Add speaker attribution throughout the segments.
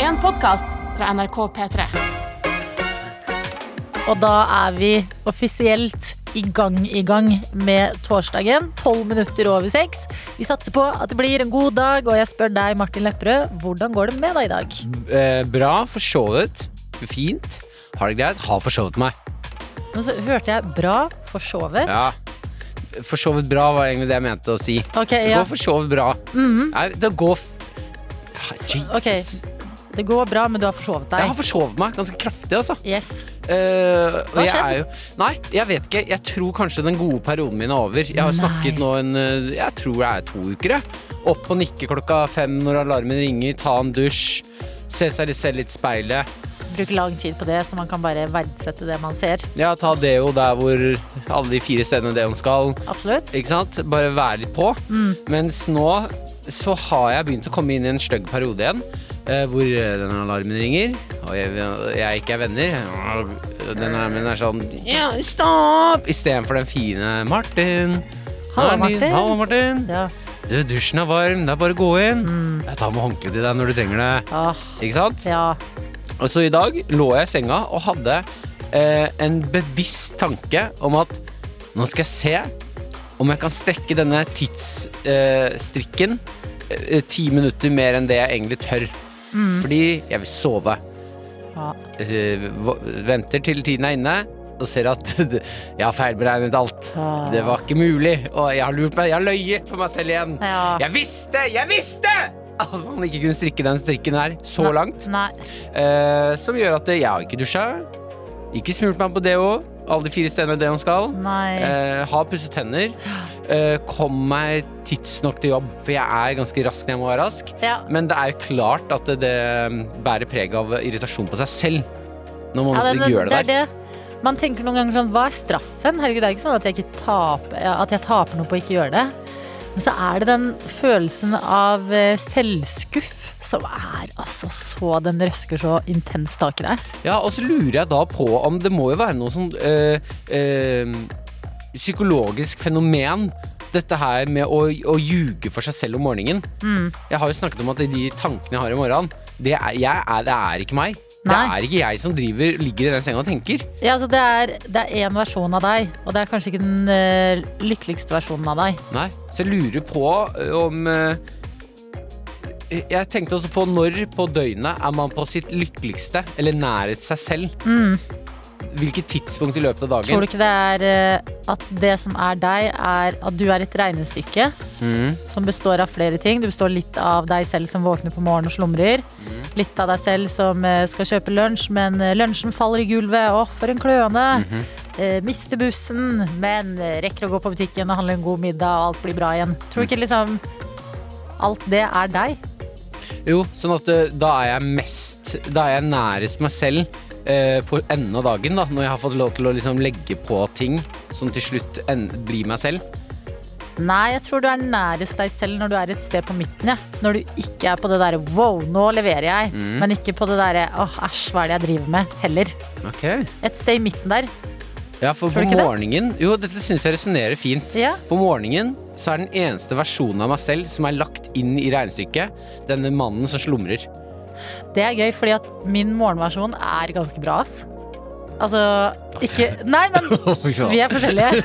Speaker 1: en podkast fra NRK P3.
Speaker 2: Og da er vi offisielt i gang i gang med torsdagen. Tolv minutter over seks. Vi satser på at det blir en god dag, og jeg spør deg, Martin Lepperød, hvordan går det med deg i dag?
Speaker 3: Eh, bra, for så vidt. Fint. Har det greit. Har forsovet meg.
Speaker 2: Men så hørte jeg bra, forsovet.
Speaker 3: Ja. For så vidt bra var egentlig det jeg mente å si.
Speaker 2: Ok,
Speaker 3: Det
Speaker 2: ja. Mhm.
Speaker 3: går for så vidt bra. Nei, det går f... Ja, Jesus.
Speaker 2: Ok. Det går bra, men du har forsovet
Speaker 3: Jeg har
Speaker 2: deg.
Speaker 3: forsovet meg ganske kraftig, altså.
Speaker 2: Yes.
Speaker 3: Eh, og
Speaker 2: Hva
Speaker 3: jeg
Speaker 2: skjedde?
Speaker 3: er jo, nei, jeg vet ikke. Jeg tror kanskje den gode perioden min er over. Jeg har
Speaker 2: Nei.
Speaker 3: snakket nå en eh, Jeg tror det er to uker, jeg. Opp og nikke klokka fem når alarmen ringer, ta en dusj, se seg litt selv litt i speilet.
Speaker 2: Bruk lang tid på det, så man kan bare verdsette det man ser.
Speaker 3: Ja, ta deo der hvor alle de fire stedene deoen skal.
Speaker 2: Absolutt.
Speaker 3: Ikke sant? Bare være litt på.
Speaker 2: Mm.
Speaker 3: Mens nå så har jeg begynt å komme inn i en stygg periode igjen. eh, hvor eh, den alarmen ringer, og jeg, jeg ikke er venner. Og Den alarmen er sånn Ja, stopp! Istedenfor den fine Martin.
Speaker 2: Hallo,
Speaker 3: Nå er den din.
Speaker 2: Martin.
Speaker 3: Hallo, Martin.
Speaker 2: Ja. Mm.
Speaker 3: Du, dusjen er varm. Det er bare å gå inn. Jeg tar med håndkleet til deg når du trenger det.
Speaker 2: Ah,
Speaker 3: Ikke sant?
Speaker 2: ja.
Speaker 3: Og så Altså, i dag lå jeg i senga og hadde eh, en bevisst tanke om at nå skal jeg se om jeg kan strekke denne tidsstrikken eh, strikken, eh, ti minutter mer enn det jeg egentlig tør.
Speaker 2: Mm.
Speaker 3: Fordi jeg vil sove.
Speaker 2: Ja.
Speaker 3: Eh, v- venter til tiden er inne og ser at jeg har feilberegnet alt.
Speaker 2: Ah.
Speaker 3: Det var ikke mulig. Og jeg har lurt meg, jeg har løyet for meg selv igjen.
Speaker 2: Ja.
Speaker 3: Jeg visste, jeg visste! At man ikke kunne strikke den strikken her så
Speaker 2: Nei.
Speaker 3: langt.
Speaker 2: Nei.
Speaker 3: Eh, som gjør at jeg har ikke dusja, ikke smurt meg på deo, alle de fire stedene deoen skal.
Speaker 2: Nei.
Speaker 3: Eh, har pusset tenner. Eh, kom meg tidsnok til jobb, for jeg er ganske rask når jeg må være rask.
Speaker 2: Ja.
Speaker 3: Men det er jo klart at det, det bærer preg av irritasjon på seg selv. Når man
Speaker 2: Ja, men
Speaker 3: gjør det, der.
Speaker 2: er det. Man tenker noen ganger sånn, hva er straffen? Herregud, det er ikke sånn at jeg, ikke taper, at jeg taper noe på å ikke gjøre det. Men så er det den følelsen av eh, selvskuff som er altså så Den røsker så intenst tak i deg.
Speaker 3: Ja, og så lurer jeg da på om det må jo være noe sånn eh, eh, psykologisk fenomen. Dette her med å, å ljuge for seg selv om morgenen.
Speaker 2: Mm.
Speaker 3: Jeg har jo snakket om at de tankene jeg har i morgenen, det er, jeg er, det er ikke meg. Det
Speaker 2: Nei.
Speaker 3: er ikke jeg som driver, ligger i den senga og tenker.
Speaker 2: Ja, altså det er det er én versjon av deg, og det er kanskje ikke den eh, lykkeligste versjonen av deg.
Speaker 3: Nei. Så jeg lurer på eh, om eh, Jeg tenkte også på når på døgnet er man på sitt lykkeligste, eller nærhet seg selv. Hvilket tidspunkt i løpet av dagen.
Speaker 2: Mm. Tror du ikke det er eh, at det som er deg, er at du er et regnestykke som består av flere ting? Du består litt av deg selv som våkner på morgenen og slumrer. Litt av deg selv som eh, skal kjøpe lunsj, men eh, lunsjen faller i gulvet. Å, for en kløne! Eh, mister bussen, men eh, rekker å gå på butikken og handle en god middag, og alt blir bra igjen. Tror du ikke liksom Alt det er deg?
Speaker 3: Jo, sånn at eh, da er jeg mest Da er jeg nærest meg selv eh, på enden av dagen, da. Når jeg har fått lov til å liksom legge på ting som til slutt en- blir meg selv.
Speaker 2: Nei, jeg tror du er nærest deg selv når du er et sted på midten. Ja. Når du ikke er på det derre 'wow, nå leverer jeg', men ikke på det derre 'åh, æsj, hva er det jeg driver med?' heller.
Speaker 3: Ok
Speaker 2: Et sted i midten der.
Speaker 3: Ja, for
Speaker 2: Tror
Speaker 3: på
Speaker 2: du ikke det?
Speaker 3: morgenen Jo, dette syns jeg resonnerer fint.
Speaker 2: Ja.
Speaker 3: På morgenen så er den eneste versjonen av meg selv som er lagt inn i regnestykket, denne mannen som slumrer.
Speaker 2: Det er gøy, fordi at min morgenversjon er ganske bra, ass. Altså ikke Nei, men vi er forskjellige.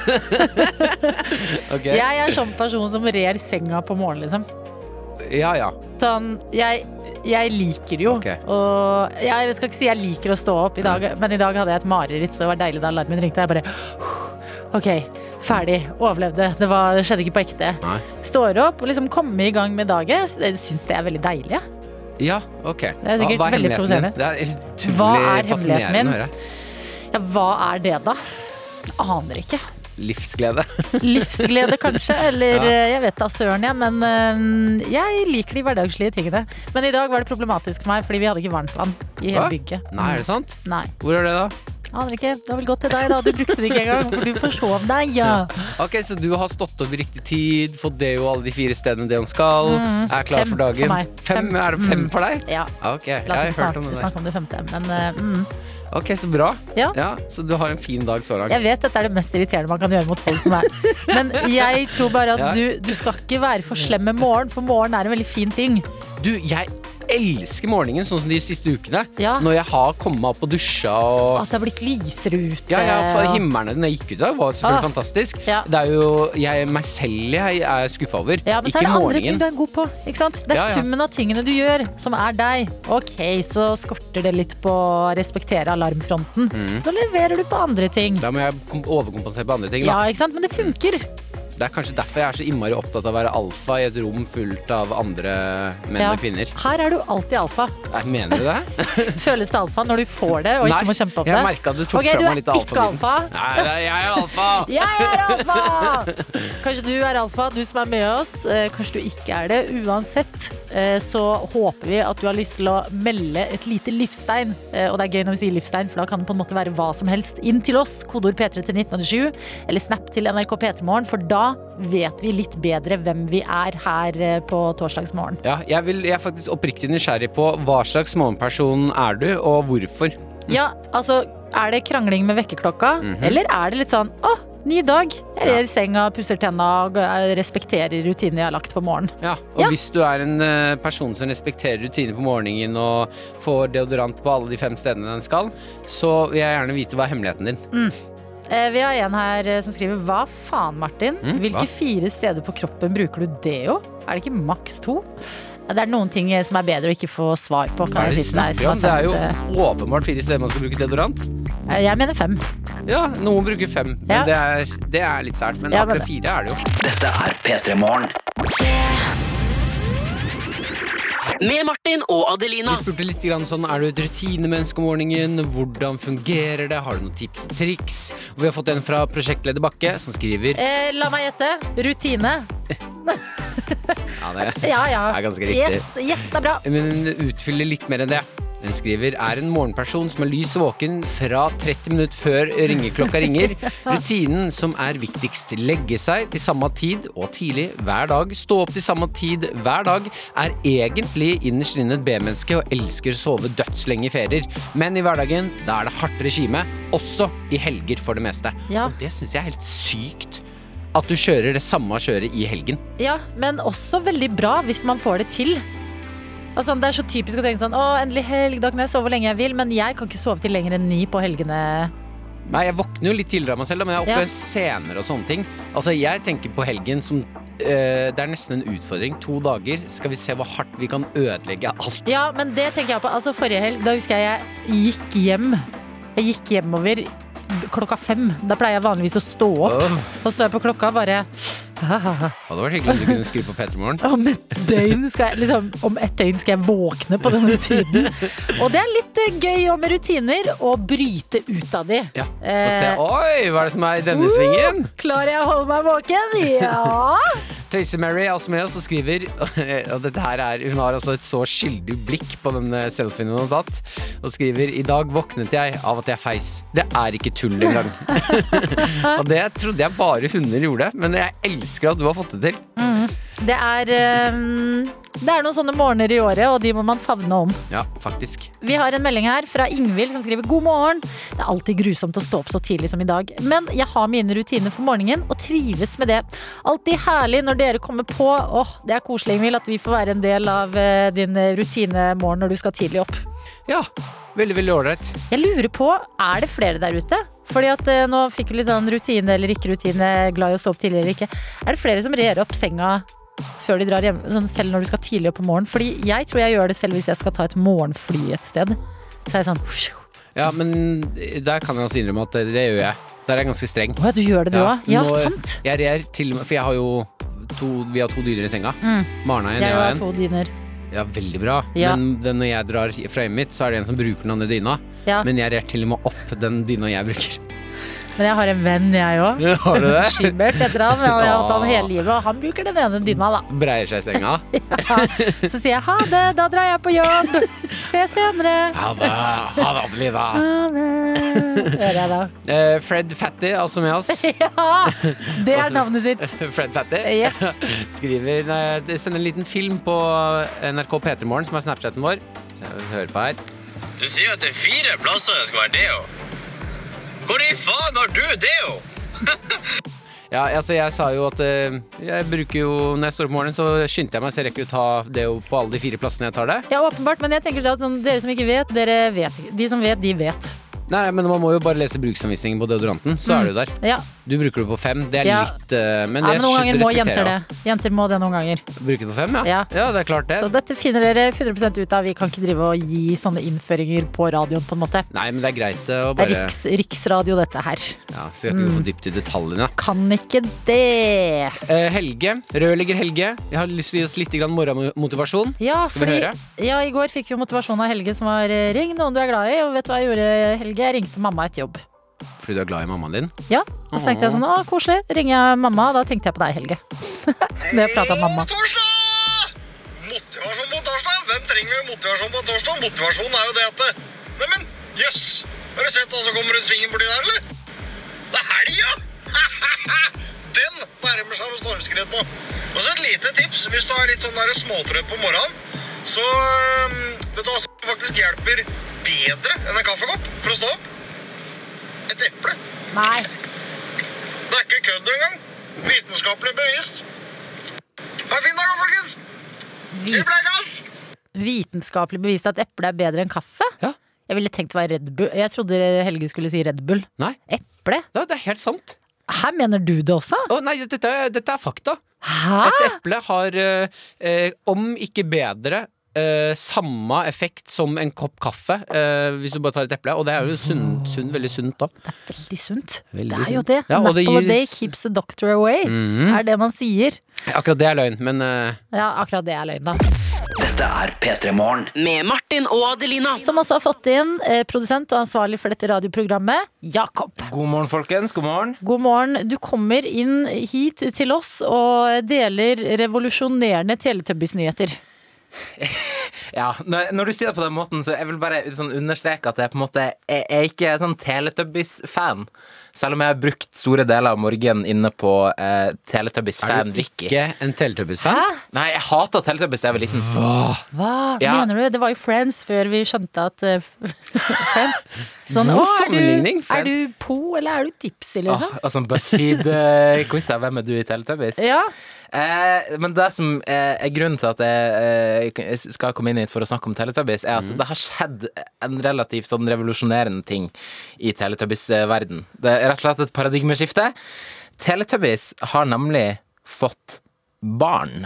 Speaker 3: Ok.
Speaker 2: Jeg er sånn person som rer senga på morgenen, liksom.
Speaker 3: Ja, ja.
Speaker 2: Sånn, jeg, jeg liker jo
Speaker 3: Ok. Mm.
Speaker 2: Og jeg, skal ikke si jeg liker å stå opp i dag Men i dag hadde jeg et mareritt Så det var deilig da alarmen ringte Jeg bare, ok, ferdig, overlevde Det, var, det skjedde ikke på ekte
Speaker 3: Nei.
Speaker 2: Står opp og liksom kommer i gang med dagen så Jeg synes det er veldig deilig jeg.
Speaker 3: Ja, ok.
Speaker 2: er sikkert
Speaker 3: Hva
Speaker 2: veldig
Speaker 3: hemmeligheten
Speaker 2: provoserende.
Speaker 3: din? Det er utrolig
Speaker 2: Hva er hemmeligheten
Speaker 3: fascinerende
Speaker 2: min?
Speaker 3: å høre.
Speaker 2: ja, Hva er det da? Aner ikke
Speaker 3: Livsglede.
Speaker 2: Livsglede kanskje, eller
Speaker 3: Ja.
Speaker 2: eh, jeg vet da søren jeg Men eh, jeg liker de hverdagslige tingene Men i dag var det problematisk for meg Fordi vi hadde ikke varmt vann i hele
Speaker 3: Hva?
Speaker 2: bygget Mm.
Speaker 3: Nei, er det sant?
Speaker 2: Nei
Speaker 3: Hvor er det, da?
Speaker 2: Aner ikke. Det var vel godt til deg, da. Du brukte det ikke engang, for du forsov deg. Ja.
Speaker 3: Ok, Så du har stått opp i riktig tid, fått det og alle de fire stedene det hun skal. er klar
Speaker 2: Mm, fem
Speaker 3: for dagen.
Speaker 2: for meg.
Speaker 3: Fem,
Speaker 2: Fem.
Speaker 3: Er det fem for deg?
Speaker 2: ja.
Speaker 3: Ok, jeg
Speaker 2: La
Speaker 3: har
Speaker 2: oss ikke
Speaker 3: hørt
Speaker 2: snakke,
Speaker 3: om det. der.
Speaker 2: snakke om det femte, men eh, mm.
Speaker 3: Ok, Så bra.
Speaker 2: Ja.
Speaker 3: Så du har en fin dag så langt.
Speaker 2: jeg vet dette er det mest irriterende man kan gjøre mot folk som er Men jeg tror bare at
Speaker 3: Ja.
Speaker 2: du, du skal ikke være for slem med morgen, for morgen er en veldig fin ting.
Speaker 3: Du, jeg elsker morgenen sånn som de siste ukene.
Speaker 2: Ja.
Speaker 3: Når jeg har kommet meg opp og dusja og
Speaker 2: At det har blitt lysere ute.
Speaker 3: ja, ja, for
Speaker 2: og-
Speaker 3: himmelen når jeg gikk ut i dag, var selvfølgelig
Speaker 2: Ah.
Speaker 3: fantastisk.
Speaker 2: Ja.
Speaker 3: Det er jo jeg, meg selv jeg er skuffa over.
Speaker 2: Ja, men så er det andre
Speaker 3: ikke
Speaker 2: ting
Speaker 3: morgenen.
Speaker 2: du er god på. Ikke sant? Det er
Speaker 3: Ja, ja.
Speaker 2: summen av tingene du gjør, som er deg. Ok, så skorter det litt på å respektere alarmfronten.
Speaker 3: Mm.
Speaker 2: Så leverer du på andre ting.
Speaker 3: Da må jeg kom- overkompensere på andre ting.
Speaker 2: Ja,
Speaker 3: Da.
Speaker 2: ikke sant? Men det funker.
Speaker 3: Det er kanskje derfor jeg er så innmari opptatt av å være alfa i et rom fullt av andre menn
Speaker 2: Ja.
Speaker 3: og kvinner.
Speaker 2: Her er du alltid alfa.
Speaker 3: Nei, mener du det?
Speaker 2: Føles det alfa når du får det og
Speaker 3: Nei,
Speaker 2: ikke må kjempe om
Speaker 3: jeg
Speaker 2: det?
Speaker 3: merket at du tok
Speaker 2: Ok,
Speaker 3: fra
Speaker 2: du
Speaker 3: meg
Speaker 2: er
Speaker 3: litt av
Speaker 2: ikke alfa.
Speaker 3: alfalyden. Nei, det er- jeg er alfa!
Speaker 2: Jeg er alfa! Kanskje du er alfa, du som er med oss. Eh, Kanskje du ikke er det. Uansett eh, så håper vi at du har lyst til å melde et lite livstegn. Eh, Og det er gøy når vi sier livstegn, for da kan det på en måte være hva som helst. Inn til oss, kodeord P3 til 1987, eller snap til NRK P3morgen, for da vet vi litt bedre hvem vi er her eh, på torsdagsmorgen.
Speaker 3: Ja, jeg, vil, jeg er faktisk oppriktig nysgjerrig på hva slags morgenperson er du, og hvorfor.
Speaker 2: Ja, altså, er det krangling med vekkerklokka?
Speaker 3: Mhm.
Speaker 2: Eller er det litt sånn åh, ny dag. Jeg er i senga, pusser tenna og eh, respekterer rutinene jeg har lagt på morgenen.
Speaker 3: Ja, og
Speaker 2: Ja.
Speaker 3: hvis du er en eh, person som respekterer rutiner på morgenen og får deodorant på alle de fem stedene den skal, så vil jeg gjerne vite hva er hemmeligheten din.
Speaker 2: Eh, Vi har en her eh, som skriver Hva faen, Martin?
Speaker 3: Mm,
Speaker 2: Hvilke
Speaker 3: hva?
Speaker 2: fire steder på kroppen bruker du deo? Er det ikke maks to? Ja, Det er noen ting eh, som er bedre å ikke få svar på.
Speaker 3: Hva
Speaker 2: Kan
Speaker 3: er
Speaker 2: jeg,
Speaker 3: det
Speaker 2: si
Speaker 3: du
Speaker 2: til deg,
Speaker 3: snakker om?
Speaker 2: som eh?
Speaker 3: Det er
Speaker 2: har
Speaker 3: jo
Speaker 2: sendt,
Speaker 3: åpenbart fire steder man skal bruke deodorant.
Speaker 2: eh, Jeg mener fem.
Speaker 3: Ja, noen bruker fem, men
Speaker 2: Ja.
Speaker 3: det, er, det er litt sært. Men
Speaker 2: Ja, men
Speaker 3: akkurat fire er det jo.
Speaker 4: Dette er P3 Morgen.
Speaker 5: Med Martin og Adelina.
Speaker 3: Vi spurte litt grann sånn, er du et rutinemenneske om morgenen? Hvordan fungerer det? Har du noen tips og triks? Og vi har fått en fra prosjektleder Bakke, som skriver
Speaker 2: Eh, la meg gjette. Rutine.
Speaker 3: ja, det
Speaker 2: Ja, ja.
Speaker 3: Det er ganske riktig.
Speaker 2: Yes, yes, det er bra.
Speaker 3: Men hun utfyller litt mer enn det. Hun skriver er en morgenperson som er lys våken fra 30 minutter før ringeklokka ringer. Rutinen som er viktigst, legge seg til samme tid og tidlig hver dag. Stå opp til samme tid hver dag. Er egentlig innerst inne et B-menneske og elsker å sove dødslenge i ferier. Men i hverdagen da er det hardt regime, også i helger for det meste.
Speaker 2: Ja.
Speaker 3: Og det syns jeg er helt sykt. At du kjører det samme kjøret i helgen.
Speaker 2: Ja, men også veldig bra hvis man får det til. Altså, det er så typisk å tenke sånn Å, endelig helg, da kan jeg sove hvor lenge jeg vil. Men jeg kan ikke sove til lenger enn ni på helgene.
Speaker 3: Nei, jeg våkner jo litt tidligere av meg selv, da, men jeg er oppe
Speaker 2: Ja.
Speaker 3: senere og sånne ting. Altså, jeg tenker på helgen som eh, Det er nesten en utfordring. To dager skal vi se hvor hardt vi kan ødelegge alt.
Speaker 2: Ja, men det tenker jeg på. Altså, forrige helg, da husker jeg jeg gikk hjem. Jeg gikk hjemover klokka fem. Da pleier jeg vanligvis å stå opp.
Speaker 3: Åh,
Speaker 2: Og så så jeg på klokka og bare
Speaker 3: hadde vært hyggelig om du kunne skrive på Petermorgen.
Speaker 2: Om et døgn skal jeg, liksom, om et døgn skal jeg våkne på denne tiden. Og det er litt eh, gøy og med rutiner å bryte ut av de.
Speaker 3: Ja. Og se,
Speaker 2: Eh,
Speaker 3: oi, hva er det som er i denne svingen?
Speaker 2: Klarer jeg å holde meg våken? Ja!
Speaker 3: Tøyse-Mary er også med oss og altså skriver og dette her er, Hun har altså et så skyldig blikk på denne selfien hun har tatt, og skriver I dag våknet jeg av at jeg feis. Det er ikke tull engang. og det trodde jeg bare hunder gjorde, men jeg elsker at du har fått det til.
Speaker 2: Det er, eh, det er noen sånne morgener i året, og de må man favne om.
Speaker 3: Ja, faktisk.
Speaker 2: Vi har en melding her fra Ingvild som skriver God morgen. Det er alltid grusomt å stå opp så tidlig som i dag. Men jeg har mine rutiner for morgenen og trives med det. Alltid herlig når dere kommer på. Åh, det er koselig, Ingvild, at vi får være en del av eh, din rutinemorgen når du skal tidlig opp.
Speaker 3: Ja, veldig, veldig ålreit.
Speaker 2: Jeg lurer på, er det flere der ute? Fordi at eh, nå fikk vi litt sånn rutine eller ikke rutine, glad i å stå opp tidlig eller ikke. Er det flere som rer opp senga før de drar hjem, sånn selv når du skal tidlig opp om morgenen? Fordi jeg tror jeg gjør det selv hvis jeg skal ta et morgenfly et sted. Så er jeg sånn Å
Speaker 3: Ja, men eh, der kan jeg også innrømme at det, det gjør jeg. Der er jeg ganske streng.
Speaker 2: ja, du gjør det du òg? Ja,
Speaker 3: når-
Speaker 2: sant!
Speaker 3: Jeg rer til og med, for jeg har jo to, vi har to dyr i senga.
Speaker 2: Mm.
Speaker 3: Marna er en,
Speaker 2: Jeg
Speaker 3: jeg har
Speaker 2: har
Speaker 3: en.
Speaker 2: to dyner.
Speaker 3: Ja, veldig bra.
Speaker 2: Ja.
Speaker 3: Men den, når jeg drar fra hjemmet mitt, så er det en som bruker den andre dyna.
Speaker 2: Ja, men,
Speaker 3: Men jeg rer til og med opp den dyna jeg bruker.
Speaker 2: jeg har en venn, jeg òg.
Speaker 3: Har du det?
Speaker 2: Skilbert heter han. Jeg har hatt han hele livet, og han bruker den ene dyna, da.
Speaker 3: Breier seg i senga.
Speaker 2: Så sier jeg ha det, da drar jeg på jobb. Se senere.
Speaker 3: Ha det, ha det, Adelina.
Speaker 2: Ha det. Hører jeg da.
Speaker 3: Eh, Fred Fatty er også med oss.
Speaker 2: Ja! Det er navnet sitt.
Speaker 3: Fred Fatty.
Speaker 2: Yes.
Speaker 3: Skriver nei, Send en liten film på NRK P3morgen, som er Snapchaten vår. Hør på her.
Speaker 6: Du sier at det er fire plasser det skal være deo. Hvor i faen har du deo?
Speaker 3: Ja, altså jeg sa jo at eh, jeg bruker jo Når jeg står opp om morgenen, så skynder jeg meg, så jeg rekker å ta det jo på alle de fire plassene jeg tar det.
Speaker 2: Ja, åpenbart, men jeg tenker sånn at sånn, dere som ikke vet, dere vet. ikke. De som vet, de vet.
Speaker 3: Nei, men man må jo bare lese bruksanvisningen på deodoranten, så
Speaker 2: Mm.
Speaker 3: er du der.
Speaker 2: Ja,
Speaker 3: Du bruker det på fem. Det er
Speaker 2: Ja.
Speaker 3: litt eh, Men
Speaker 2: ja
Speaker 3: det
Speaker 2: men noen ganger må
Speaker 3: respekterer jeg
Speaker 2: jenter
Speaker 3: jo.
Speaker 2: det. Jenter må det noen ganger.
Speaker 3: Bruke det på fem, ja. ja?
Speaker 2: Ja.
Speaker 3: det er klart det.
Speaker 2: Så dette finner dere 100 ut av. Vi kan ikke drive og gi sånne innføringer på radioen, på en måte.
Speaker 3: Nei, men det er greit eh,
Speaker 2: Det er
Speaker 3: å
Speaker 2: Mm.
Speaker 3: bare
Speaker 2: riks, riksradio, dette her.
Speaker 3: ja, Skal ikke gå for dypt i detaljene.
Speaker 2: Kan ikke det.
Speaker 3: Eh, Helge, rørlegger Helge. Jeg har lyst til å gi oss litt grann morgenmotivasjon.
Speaker 2: Ja,
Speaker 3: Skal vi
Speaker 2: fordi-
Speaker 3: høre?
Speaker 2: Ja, i går fikk vi motivasjon av Helge som var eh, ring noen du er glad i. Og vet du hva jeg gjorde, Helge? Jeg ringte mamma etter jobb.
Speaker 3: Fordi du er glad i mammaen din?
Speaker 2: Ja, og så tenkte jeg sånn, å koselig, ringer jeg mamma. Da tenkte jeg på deg, Helge. Når jeg pratet om mamma.
Speaker 6: Torsdag! Motivasjon på torsdag? Hvem trenger vi motivasjon på torsdag? Motivasjon er jo det at det- Neimen, jøss! Har du sett hva som kommer rundt svingen borti der, eller? Det er helga! Den nærmer seg med stormskritt nå. Og så et lite tips hvis du er litt sånn der småtrøtt på morgenen. Så øhm, vet du hva som faktisk hjelper bedre enn en kaffekopp for å stå opp? Et eple.
Speaker 2: Nei,
Speaker 6: Det er ikke kødd engang. Vitenskapelig bevist. Ha en fin dag, folkens! Vi
Speaker 2: vit,
Speaker 6: bleikass!
Speaker 2: vitenskapelig bevist at eple er bedre enn kaffe.
Speaker 3: Ja.
Speaker 2: Jeg ville tenkt det var Red Bull. Jeg trodde Helge skulle si Red Bull.
Speaker 3: Nei,
Speaker 2: Eple?
Speaker 3: ja, det er helt sant.
Speaker 2: Her mener du det også?
Speaker 3: Å nei, dette, dette er fakta.
Speaker 2: Hæ?
Speaker 3: Et eple har, eh, eh, om ikke bedre, eh, samme effekt som en kopp kaffe. Eh, hvis du bare tar et eple. Og det er jo sunn, sunn, veldig sunt, da.
Speaker 2: Veldig sunt.
Speaker 3: Veldig
Speaker 2: det er jo
Speaker 3: sunt.
Speaker 2: det. Mhm.
Speaker 3: Ja,
Speaker 2: An
Speaker 3: og det
Speaker 2: apple a
Speaker 3: gir-
Speaker 2: day keeps the doctor away. Er det man sier.
Speaker 3: Akkurat det er løgn, men eh,
Speaker 2: Ja, akkurat det er løgn, da.
Speaker 4: Dette er P3 Morgen.
Speaker 5: Med Martin og Adelina.
Speaker 2: Som også har fått inn eh, produsent og ansvarlig for dette radioprogrammet, Jakob.
Speaker 7: God morgen, folkens. God morgen.
Speaker 2: God morgen. Du kommer inn hit til oss og deler revolusjonerende Teletubbies-nyheter.
Speaker 7: Ja, når, når du sier det på den måten, så jeg vil bare sånn understreke at jeg på en måte Jeg jeg er ikke sånn Teletubbies-fan. Selv om jeg har brukt store deler av morgenen inne på eh,
Speaker 3: er
Speaker 7: Teletubbies-fan
Speaker 3: du
Speaker 7: Vicky.
Speaker 3: ikke en Teletubbies-fan?
Speaker 7: Nei, jeg hata Teletubbies da jeg var liten.
Speaker 2: Hva
Speaker 7: Ja.
Speaker 2: mener du? Det var jo Friends før vi skjønte at eh, Friends Sånn,
Speaker 3: God
Speaker 2: å, er du,
Speaker 3: sammenligning,
Speaker 2: er du
Speaker 3: Friends.
Speaker 2: Po, eller er du Tipsy,
Speaker 7: Åh,
Speaker 2: liksom?
Speaker 7: altså BuzzFeed-quiz av eh, hvem er du i Teletubbies?
Speaker 2: Ja.
Speaker 7: Eh, men det som eh, er grunnen til at jeg eh, skal komme inn hit for å snakke om Teletubbies, er at det har skjedd en relativt sånn revolusjonerende ting i Teletubbies-verden. Det er rett og slett et paradigmeskifte. Teletubbies har nemlig fått barn.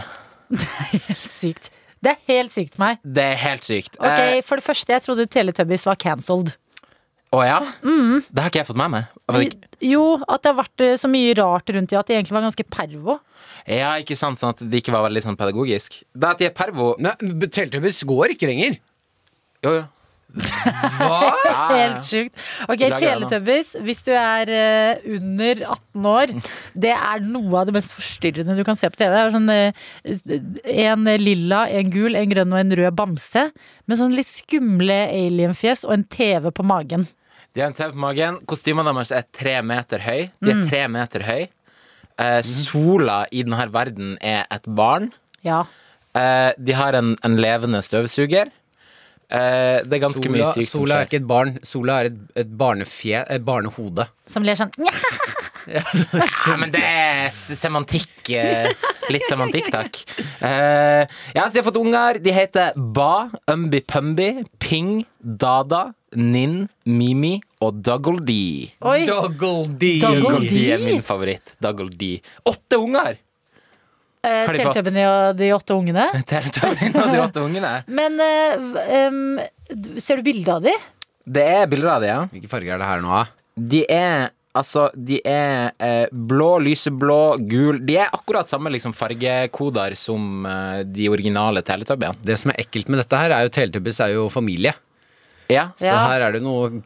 Speaker 2: Sykt. Det er helt sykt for meg.
Speaker 7: Det er helt sykt.
Speaker 2: Ok,
Speaker 7: Eh,
Speaker 2: For det første, jeg trodde Teletubbies var cancelled.
Speaker 7: å ja? Det har ikke jeg fått med meg. Jeg vet ikke-
Speaker 2: Jo, at det har vært eh, så mye rart rundt i at de egentlig var ganske pervo.
Speaker 7: Ja, ikke sant? Sånn at det ikke var veldig sånn pedagogisk. Det at de er pervo
Speaker 3: Nei, b- Teletubbies går ikke lenger.
Speaker 7: Jo, jo. Hva?
Speaker 2: Helt sjukt. Ok,
Speaker 7: Beklager det nå.
Speaker 2: Teletubbies, hvis du er eh, under 18 år, det er noe av det mest forstyrrende du kan se på TV. Det er sånn eh, En lilla, en gul, en grønn og en rød bamse. Med sånn litt skumle alienfjes og en TV på magen.
Speaker 7: De har en TV på magen. Kostymene deres er tre meter høy. De
Speaker 3: Mm.
Speaker 7: er tre meter høy. Eh, sola i denne verden er et barn.
Speaker 2: Ja.
Speaker 7: Eh, de har en, en levende støvsuger. Eh, det er ganske
Speaker 3: sola,
Speaker 7: mye sykt som
Speaker 3: sola er
Speaker 7: skjer.
Speaker 3: ikke et barn. Sola er et, et barnefje, et barnehode.
Speaker 2: Som ler sånn «Nja!»
Speaker 7: Nei, men det er s- semantikk. eh, Litt semantikk, takk. Eh, ja, så de har fått unger. De heter Ba, Umbi Pumbi, Ping, Dada, Ninn, Mimi og Dougal D.
Speaker 2: Oi!
Speaker 3: Doggle D.
Speaker 2: Dougal
Speaker 7: Dougal D er
Speaker 2: D?
Speaker 7: min favoritt. Dougal D. Åtte unger!
Speaker 2: Eh,
Speaker 7: har de fått?
Speaker 2: Teletubbiene og de åtte ungene.
Speaker 7: Teletubbies og de åtte ungene.
Speaker 2: Men eh, v- em, d- ser du bilde av de?
Speaker 7: Det er bilder av det, ja.
Speaker 3: Hvilke farger er det her nå, da?
Speaker 7: De er altså De er eh, blå, lyseblå, gul De er akkurat samme liksom, fargekoder som eh, de originale Teletubbiene.
Speaker 3: Det som er ekkelt med dette her, er jo Teletubbies er jo familie.
Speaker 7: Ja.
Speaker 3: Så
Speaker 2: Ja.
Speaker 3: her er det noe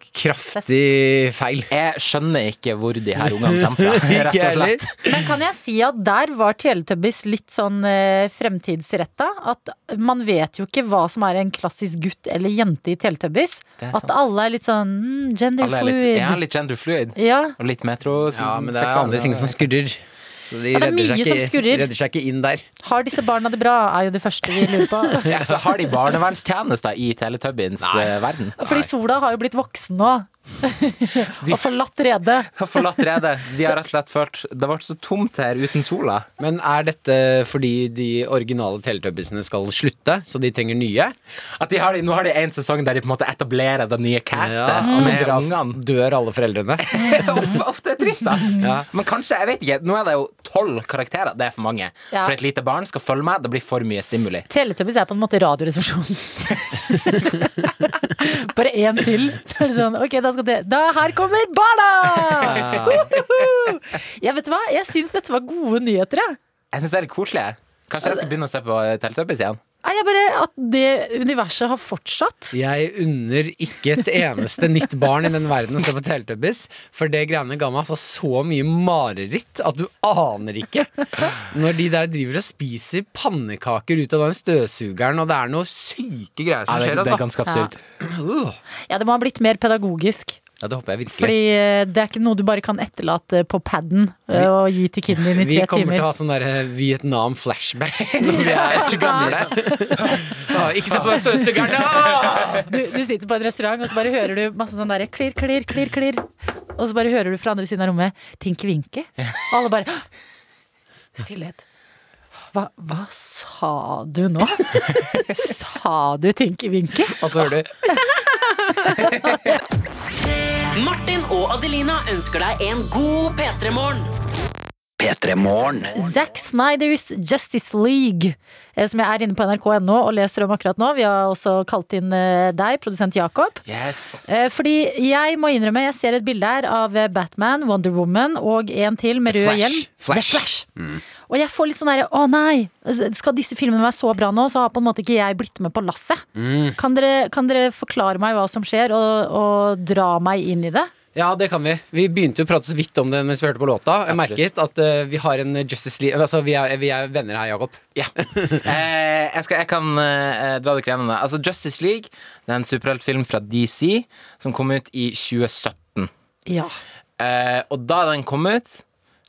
Speaker 3: kraftig feil.
Speaker 7: Jeg skjønner ikke hvor de her ungene kommer fra, rett og slett.
Speaker 2: Men kan jeg si at der var Teletubbies litt sånn eh, fremtidsretta? At man vet jo ikke hva som er en klassisk gutt eller jente i Teletubbies.
Speaker 7: Det er
Speaker 2: At
Speaker 7: sant.
Speaker 2: alle er litt sånn mm, gender
Speaker 7: Alle er litt,
Speaker 2: fluid.
Speaker 7: ja, litt gender fluid.
Speaker 2: Ja.
Speaker 7: Og litt metro.
Speaker 3: Ja, men det er andre ting som skurrer. Så de
Speaker 2: Ja, det er
Speaker 3: redder, seg
Speaker 2: mye som
Speaker 3: ikke,
Speaker 2: skurrer.
Speaker 3: redder seg ikke inn der.
Speaker 2: Har disse barna det bra, er jo det første vi lurer på.
Speaker 7: ja, for Har de barnevernstjenester i Teletubbiens eh, verden?
Speaker 2: Fordi sola har jo blitt voksen nå.
Speaker 7: Så de
Speaker 2: Og forlatt redet.
Speaker 7: har forlatt redet. De har rett og slett følt Det ble så tomt her uten sola.
Speaker 3: Men er dette fordi de originale Teletubbiesene skal slutte, så de trenger nye?
Speaker 7: At de har, nå har de en sesong der de på en måte etablerer det nye castet.
Speaker 3: Ja,
Speaker 7: Som
Speaker 3: så
Speaker 7: er
Speaker 3: drar-
Speaker 7: ungene.
Speaker 3: Dør alle foreldrene?
Speaker 7: Uff, uff, det er trist, da. Men kanskje, jeg vet ikke. Nå er det jo tolv karakterer. Det er for mange.
Speaker 2: Ja.
Speaker 7: For et lite barn skal følge med. Det blir for mye stimuli.
Speaker 2: Teletubbies er på en måte Radioresepsjonen. Bare én til, så er det sånn Ok, da skal det Da her kommer barna! Woohoo! Ja, vet du hva? Jeg syns dette var gode nyheter, jeg.
Speaker 7: Jeg syns det er litt koselig. jeg. Kanskje jeg skal begynne å se på eh, Teletubbies igjen.
Speaker 2: Nei, jeg bare At det universet har fortsatt.
Speaker 3: Jeg unner ikke et eneste nytt barn i den verden å se på Teletubbies, for det greiene ga meg altså så mye mareritt at du aner ikke. Når de der driver og spiser pannekaker ut av den støvsugeren, og det er noe syke greier som skjer, altså.
Speaker 7: ganske
Speaker 2: absurd. Ja, det må ha blitt mer pedagogisk.
Speaker 7: Ja, det håper jeg virkelig.
Speaker 2: Fordi eh, det er ikke noe du bare kan etterlate på paden eh, og gi til kiden din i
Speaker 3: Vi
Speaker 2: tre
Speaker 3: kommer til å
Speaker 2: timer.
Speaker 3: ha sånne der eh, Vietnam-flashbacks når vi er gamle. Å, Ikke se på den støvsugeren! da!
Speaker 2: Du, du sitter på en restaurant, og så bare hører du masse sånn derre klirr, klirr, klirr, klirr. Og så bare hører du fra andre siden av rommet tinke-vinke. Og alle bare «Hå!» Stillhet. Hva, hva sa du nå? Sa du tinke-vinke?
Speaker 7: Og så hører du
Speaker 5: Martin og Adelina ønsker deg en god P3-morgen.
Speaker 4: P3 Morgen.
Speaker 2: Zack Snyders Justice League, eh, som jeg er inne på nrk.no og leser om akkurat nå. Vi har også kalt inn eh, deg, produsent Jakob.
Speaker 7: Yes.
Speaker 2: Eh, Fordi jeg må innrømme, jeg ser et bilde her av eh, Batman, Wonder Woman og en til med rød
Speaker 3: Flash.
Speaker 2: hjelm.
Speaker 3: Flash.
Speaker 2: The Flash. Og jeg får litt sånn derre å nei, skal disse filmene være så bra nå, så har på en måte ikke jeg blitt med på lasset. Kan, dere, kan dere forklare meg hva som skjer, og, og dra meg inn i det?
Speaker 3: Ja, det kan vi. Vi begynte jo å prate så vidt om det mens vi hørte på låta. Jeg merket at eh, vi har en Justice League Altså, vi er, vi er venner her, Jakob.
Speaker 7: Ja. Eh, jeg, skal, jeg kan eh, dra dere gjennom det. Altså, Justice League det er en superheltfilm fra DC som kom ut i 2017.
Speaker 2: Ja.
Speaker 7: Eh, og da den kom ut,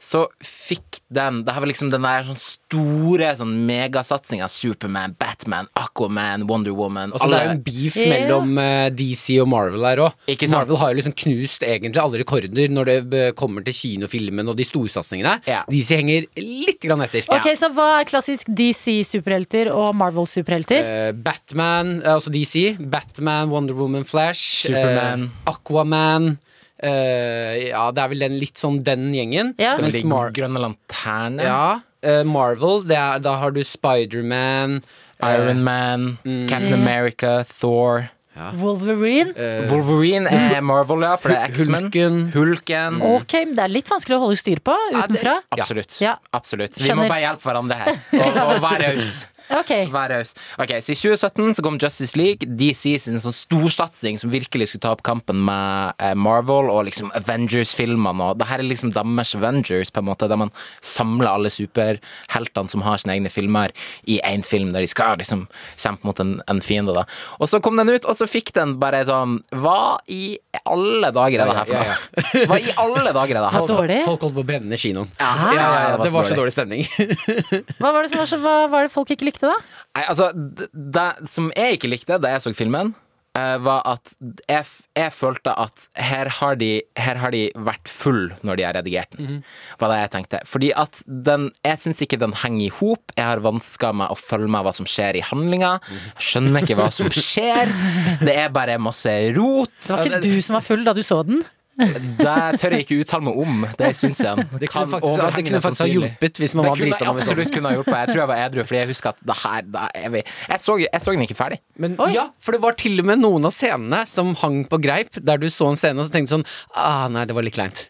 Speaker 7: så fikk den Det her var liksom den der sånn store sånn megasatsinga. Superman, Batman, Aquaman, Wonder Woman.
Speaker 3: Altså, det er jo en beef mellom eh, DC og Marvel her òg.
Speaker 7: Ikke sant?
Speaker 3: Marvel har jo liksom knust egentlig alle rekorder når det eh, kommer til kinofilmen og de storsatsingene.
Speaker 7: Ja.
Speaker 3: DC henger litt grann etter.
Speaker 2: Ok, Så hva er klassisk DC-superhelter og Marvel-superhelter?
Speaker 3: Eh, Batman, eh, altså DC, Batman, Wonder Woman, Flash,
Speaker 7: Superman.
Speaker 3: eh, Aquaman eh, Ja, det er vel den, litt sånn den gjengen.
Speaker 2: Ja.
Speaker 7: den
Speaker 3: Mens Mar-
Speaker 7: grønne lanterne.
Speaker 3: Ja, eh, Marvel, det er, da har du Spiderman
Speaker 7: Eh, Iron Man,
Speaker 3: Mm.
Speaker 7: Captain America, Thor.
Speaker 2: Wolverine?
Speaker 7: Eh. Wolverine er Marvel, ja, for det er X-Men.
Speaker 3: Eh. Hulken.
Speaker 7: Hulken.
Speaker 2: Ok, men det er litt vanskelig å holde styr på utenfra.
Speaker 7: Absolutt.
Speaker 2: Ja.
Speaker 7: Absolutt. Så vi
Speaker 2: Skjønner.
Speaker 7: må bare hjelpe hverandre her. Og, og være raus.
Speaker 2: Ok.
Speaker 7: Være raus. Ok, så I 2017 så kom Justice League, DC sin sånn storsatsing som virkelig skulle ta opp kampen med eh, Marvel og liksom Avengers-filmene. og det her er liksom deres Avengers, på en måte, der man samler alle superheltene som har sine egne filmer, i én film der de skal liksom kjempe mot en, en fiende. da. Og så kom den ut, og så fikk den bare sånn Hva i alle dager er det her for noe? Hva i alle dager er det
Speaker 2: Hva
Speaker 7: her?
Speaker 2: dårlig?
Speaker 3: Folk holdt på å brenne kinoen.
Speaker 7: Ja,
Speaker 3: Ja, ja, ja, det var så
Speaker 7: dårlig.
Speaker 3: dårlig stemning.
Speaker 2: Hva var det som var så, hva var det folk ikke likte, da?
Speaker 7: Nei, altså, det, det som jeg ikke likte da jeg så filmen, eh, var at jeg, f- jeg følte at her har, de, her har de vært full når de har redigert den.
Speaker 3: Mhm.
Speaker 7: Var det jeg tenkte. Fordi at den Jeg syns ikke den henger i hop. Jeg har vansker med å følge med hva som skjer i handlinga.
Speaker 3: Mhm.
Speaker 7: Jeg Skjønner ikke hva som skjer. Det er bare masse rot.
Speaker 2: Det var ikke du som var full da du så den.
Speaker 7: Det tør jeg ikke uttale meg om. Det er en stund siden.
Speaker 3: Det
Speaker 7: Kan
Speaker 3: kunne faktisk, det
Speaker 7: overhengende
Speaker 3: kunne faktisk ha
Speaker 7: sannsynlig.
Speaker 3: hjulpet hvis man
Speaker 7: Det
Speaker 3: var
Speaker 7: kunne
Speaker 3: drita når vi
Speaker 7: jeg
Speaker 3: så den.
Speaker 7: absolutt kunne ha hjulpet. Jeg tror jeg var edru, fordi jeg husker at det her det er vi. Jeg, så, jeg så den ikke ferdig.
Speaker 3: Men, ja, for det var til og med noen av scenene som hang på greip, der du så en scene og så tenkte sånn ah, Nei, det var litt kleint.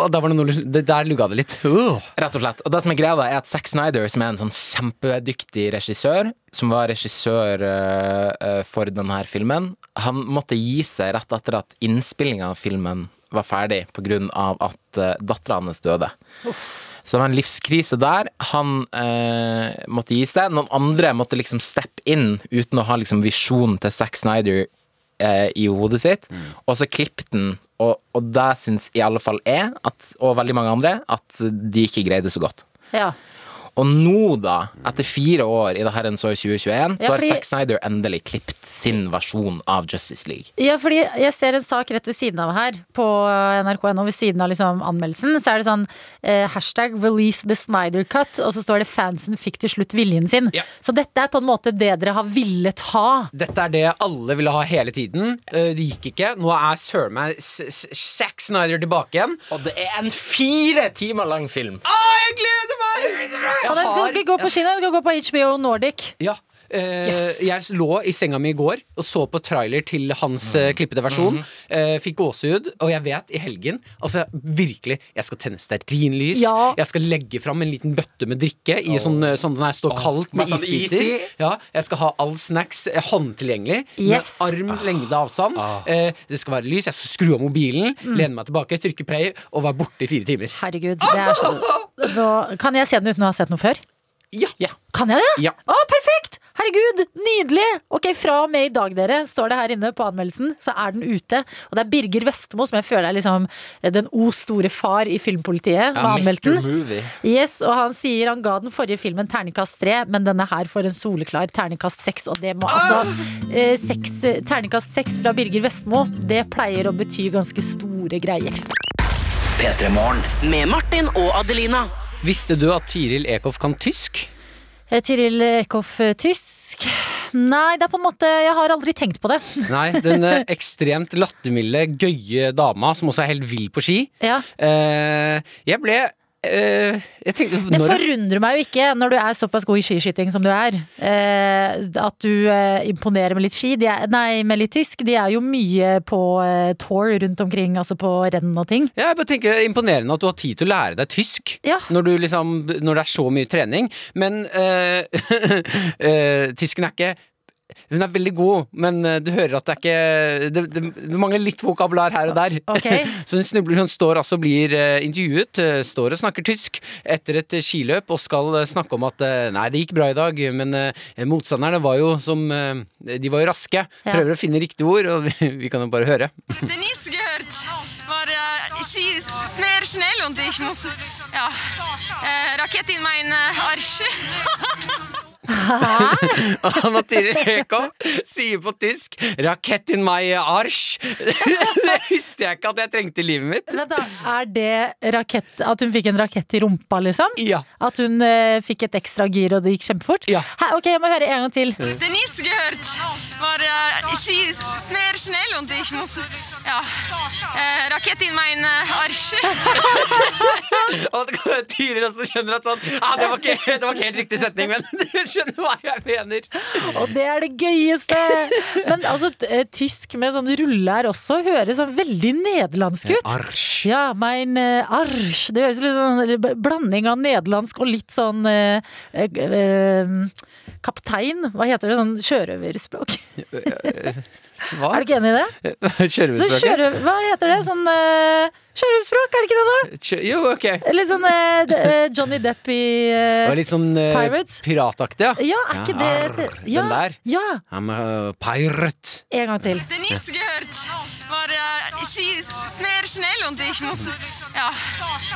Speaker 3: Og da var det noe, det, der lugga det litt. Uh.
Speaker 7: Rett og slett. Og det som er greia, da, er at Zack Snyder, som er en sånn kjempedyktig regissør, som var regissør øh, øh, for denne filmen, han måtte gi seg rett etter at innspillinga av filmen var ferdig, på grunn av at uh, dattera hans døde. Så det var en livskrise der. Han øh, måtte gi seg. Noen andre måtte liksom steppe inn uten å ha liksom visjonen til Zack Snyder eh, i hodet sitt, og så klippet den. Og, og det syns i alle fall jeg, at, og veldig mange andre, at de ikke greide så godt.
Speaker 2: Ja.
Speaker 7: Og nå, da, etter fire år i det herrens år 2021, så
Speaker 2: Ja,
Speaker 7: har
Speaker 2: fordi-
Speaker 7: Zack Snyder endelig klippet sin versjon av Justice League.
Speaker 2: Ja, fordi jeg ser en sak rett ved siden av her på nrk.no, ved siden av liksom anmeldelsen. Så er det sånn eh, hashtag 'release the Snyder cut', og så står det 'fansen fikk til slutt viljen sin'.
Speaker 3: Ja.
Speaker 2: Så dette er på en måte det dere har villet ha.
Speaker 3: Dette er det alle ville ha hele tiden. Eh, Det gikk ikke. Nå er søren meg S- S- Zack Snyder tilbake igjen.
Speaker 7: Og det er en fire timer lang film!
Speaker 3: Å, jeg gleder meg!
Speaker 2: Og den skal ikke gå på kino, den skal gå på HBO Nordic.
Speaker 3: Ja. eh, Jeg lå i senga mi i går og så på trailer til hans
Speaker 7: Mhm.
Speaker 3: eh, klippede versjon. Eh, fikk gåsehud, og jeg vet i helgen Altså virkelig, jeg skal tenne stearinlys.
Speaker 2: Ja.
Speaker 3: Jeg skal legge fram en liten bøtte med drikke i sånn, eh, sånn den her står kaldt med
Speaker 7: med sånn
Speaker 3: isbiter.
Speaker 7: is i.
Speaker 3: Ja, jeg skal ha all snacks eh, håndtilgjengelig.
Speaker 2: Yes.
Speaker 3: Med
Speaker 7: Ah.
Speaker 3: arm, lengde, avstand. Eh, det skal være lys. Jeg skal skru av mobilen,
Speaker 2: Mm.
Speaker 3: lene meg tilbake, trykke play og være borte i fire timer.
Speaker 2: Herregud, det er sånn Nå- Kan jeg se den uten å ha sett noe før?
Speaker 3: Ja, ja.
Speaker 2: Kan jeg det?
Speaker 3: Ja.
Speaker 2: Å, perfekt! Herregud, nydelig! Ok, Fra og med i dag, dere, står det her inne på anmeldelsen, så er den ute. Og det er Birger Vestmo, som jeg føler er liksom den o store far i filmpolitiet, som har anmeldt den.
Speaker 7: Movie.
Speaker 2: Yes, og han sier han ga den forrige filmen terningkast tre, men denne her får en soleklar terningkast seks. Og det må
Speaker 3: Ah!
Speaker 2: altså eh, seks, eh, Terningkast seks fra Birger Vestmo, det pleier å bety ganske store greier.
Speaker 4: P3 Morgen.
Speaker 5: Med Martin og Adelina.
Speaker 3: Visste du at Tiril Eckhoff kan tysk?
Speaker 2: Eh, Tiril Eckhoff, eh, tysk? Nei, det er på en måte Jeg har aldri tenkt på det.
Speaker 3: Nei, den eh, ekstremt lattermilde, gøye dama som også er helt vill på ski.
Speaker 2: Ja.
Speaker 3: Eh, jeg ble eh, Jeg tenkte
Speaker 2: Det
Speaker 3: når,
Speaker 2: forundrer meg jo ikke, når du er såpass god i skiskyting som du er, eh, at du eh, imponerer med litt ski. De er, nei, med litt tysk. De er jo mye på eh, tour rundt omkring, altså på renn og ting.
Speaker 3: ja, jeg bare tenker det er Imponerende at du har tid til å lære deg tysk
Speaker 2: Ja.
Speaker 3: når, du liksom, når det er så mye trening. Men eh, eh, tysken er ikke Hun er veldig god, men eh, du hører at det er ikke Det, det, det mangler litt vokabular her og der.
Speaker 2: Ok.
Speaker 3: Så hun snubler, hun står altså og blir eh, intervjuet, eh, står og snakker tysk etter et eh, skiløp og skal eh, snakke om at eh, nei, det gikk bra i dag, men eh, motstanderne var jo som eh, De var jo raske.
Speaker 2: Ja.
Speaker 3: Prøver å finne riktige ord, og vi, vi kan jo bare høre.
Speaker 8: det nyss gehört war äh, Ski sehr schnell und ich muss ja, äh, Rakete in meinen äh, Arsch.
Speaker 3: Anna Tiril Eckhoff sier på tysk 'Rakett in my arsch'. det visste jeg ikke at jeg trengte i livet mitt.
Speaker 2: Vent da, Er det rakett, at hun fikk en rakett i rumpa, liksom?
Speaker 3: Ja.
Speaker 2: At hun eh, fikk et ekstra gir, og det gikk kjempefort?
Speaker 3: Ja.
Speaker 2: Hæ, ok, jeg må høre en gang til.
Speaker 8: det nyss gehört war äh, Ski sehr schnell und ich muss ja, äh, Rakete in meinen äh, Arsch.
Speaker 3: Og Tiril også skjønner at sånn ah, det, var ikke, det var ikke helt riktig setning, men du skjønner hva jeg mener.
Speaker 2: Og det er det gøyeste! Men altså, t- eh, tysk med sånn rulle her også høres sånn veldig nederlandsk ut.
Speaker 3: Arsch.
Speaker 2: Ja, mein eh, Arsch. Det høres litt sånn b- blanding av nederlandsk og litt sånn eh, eh, eh, Kaptein, hva heter det? Sånn sjørøverspråk.
Speaker 3: Hva?
Speaker 2: Er du ikke enig i det? Så
Speaker 3: Sjørøverspråket?
Speaker 2: sjørøver, hva heter det? Sånn eh, sjørøverspråk, er det ikke det, da?
Speaker 3: Kjø- Jo, ok.
Speaker 2: Eller sånn eh, d- eh, Johnny Depp i
Speaker 3: Det
Speaker 2: eh,
Speaker 3: var litt sånn eh,
Speaker 2: Pirates?
Speaker 3: pirataktig, ja.
Speaker 2: Ja, er ikke det
Speaker 3: Ja,
Speaker 2: det-
Speaker 3: arr,
Speaker 2: ja,
Speaker 3: Den der.
Speaker 2: Ja!
Speaker 3: I'm a pirate.
Speaker 2: En gang til.
Speaker 8: det nyss gehört war äh, Ski sehr schnell und ich muss ja,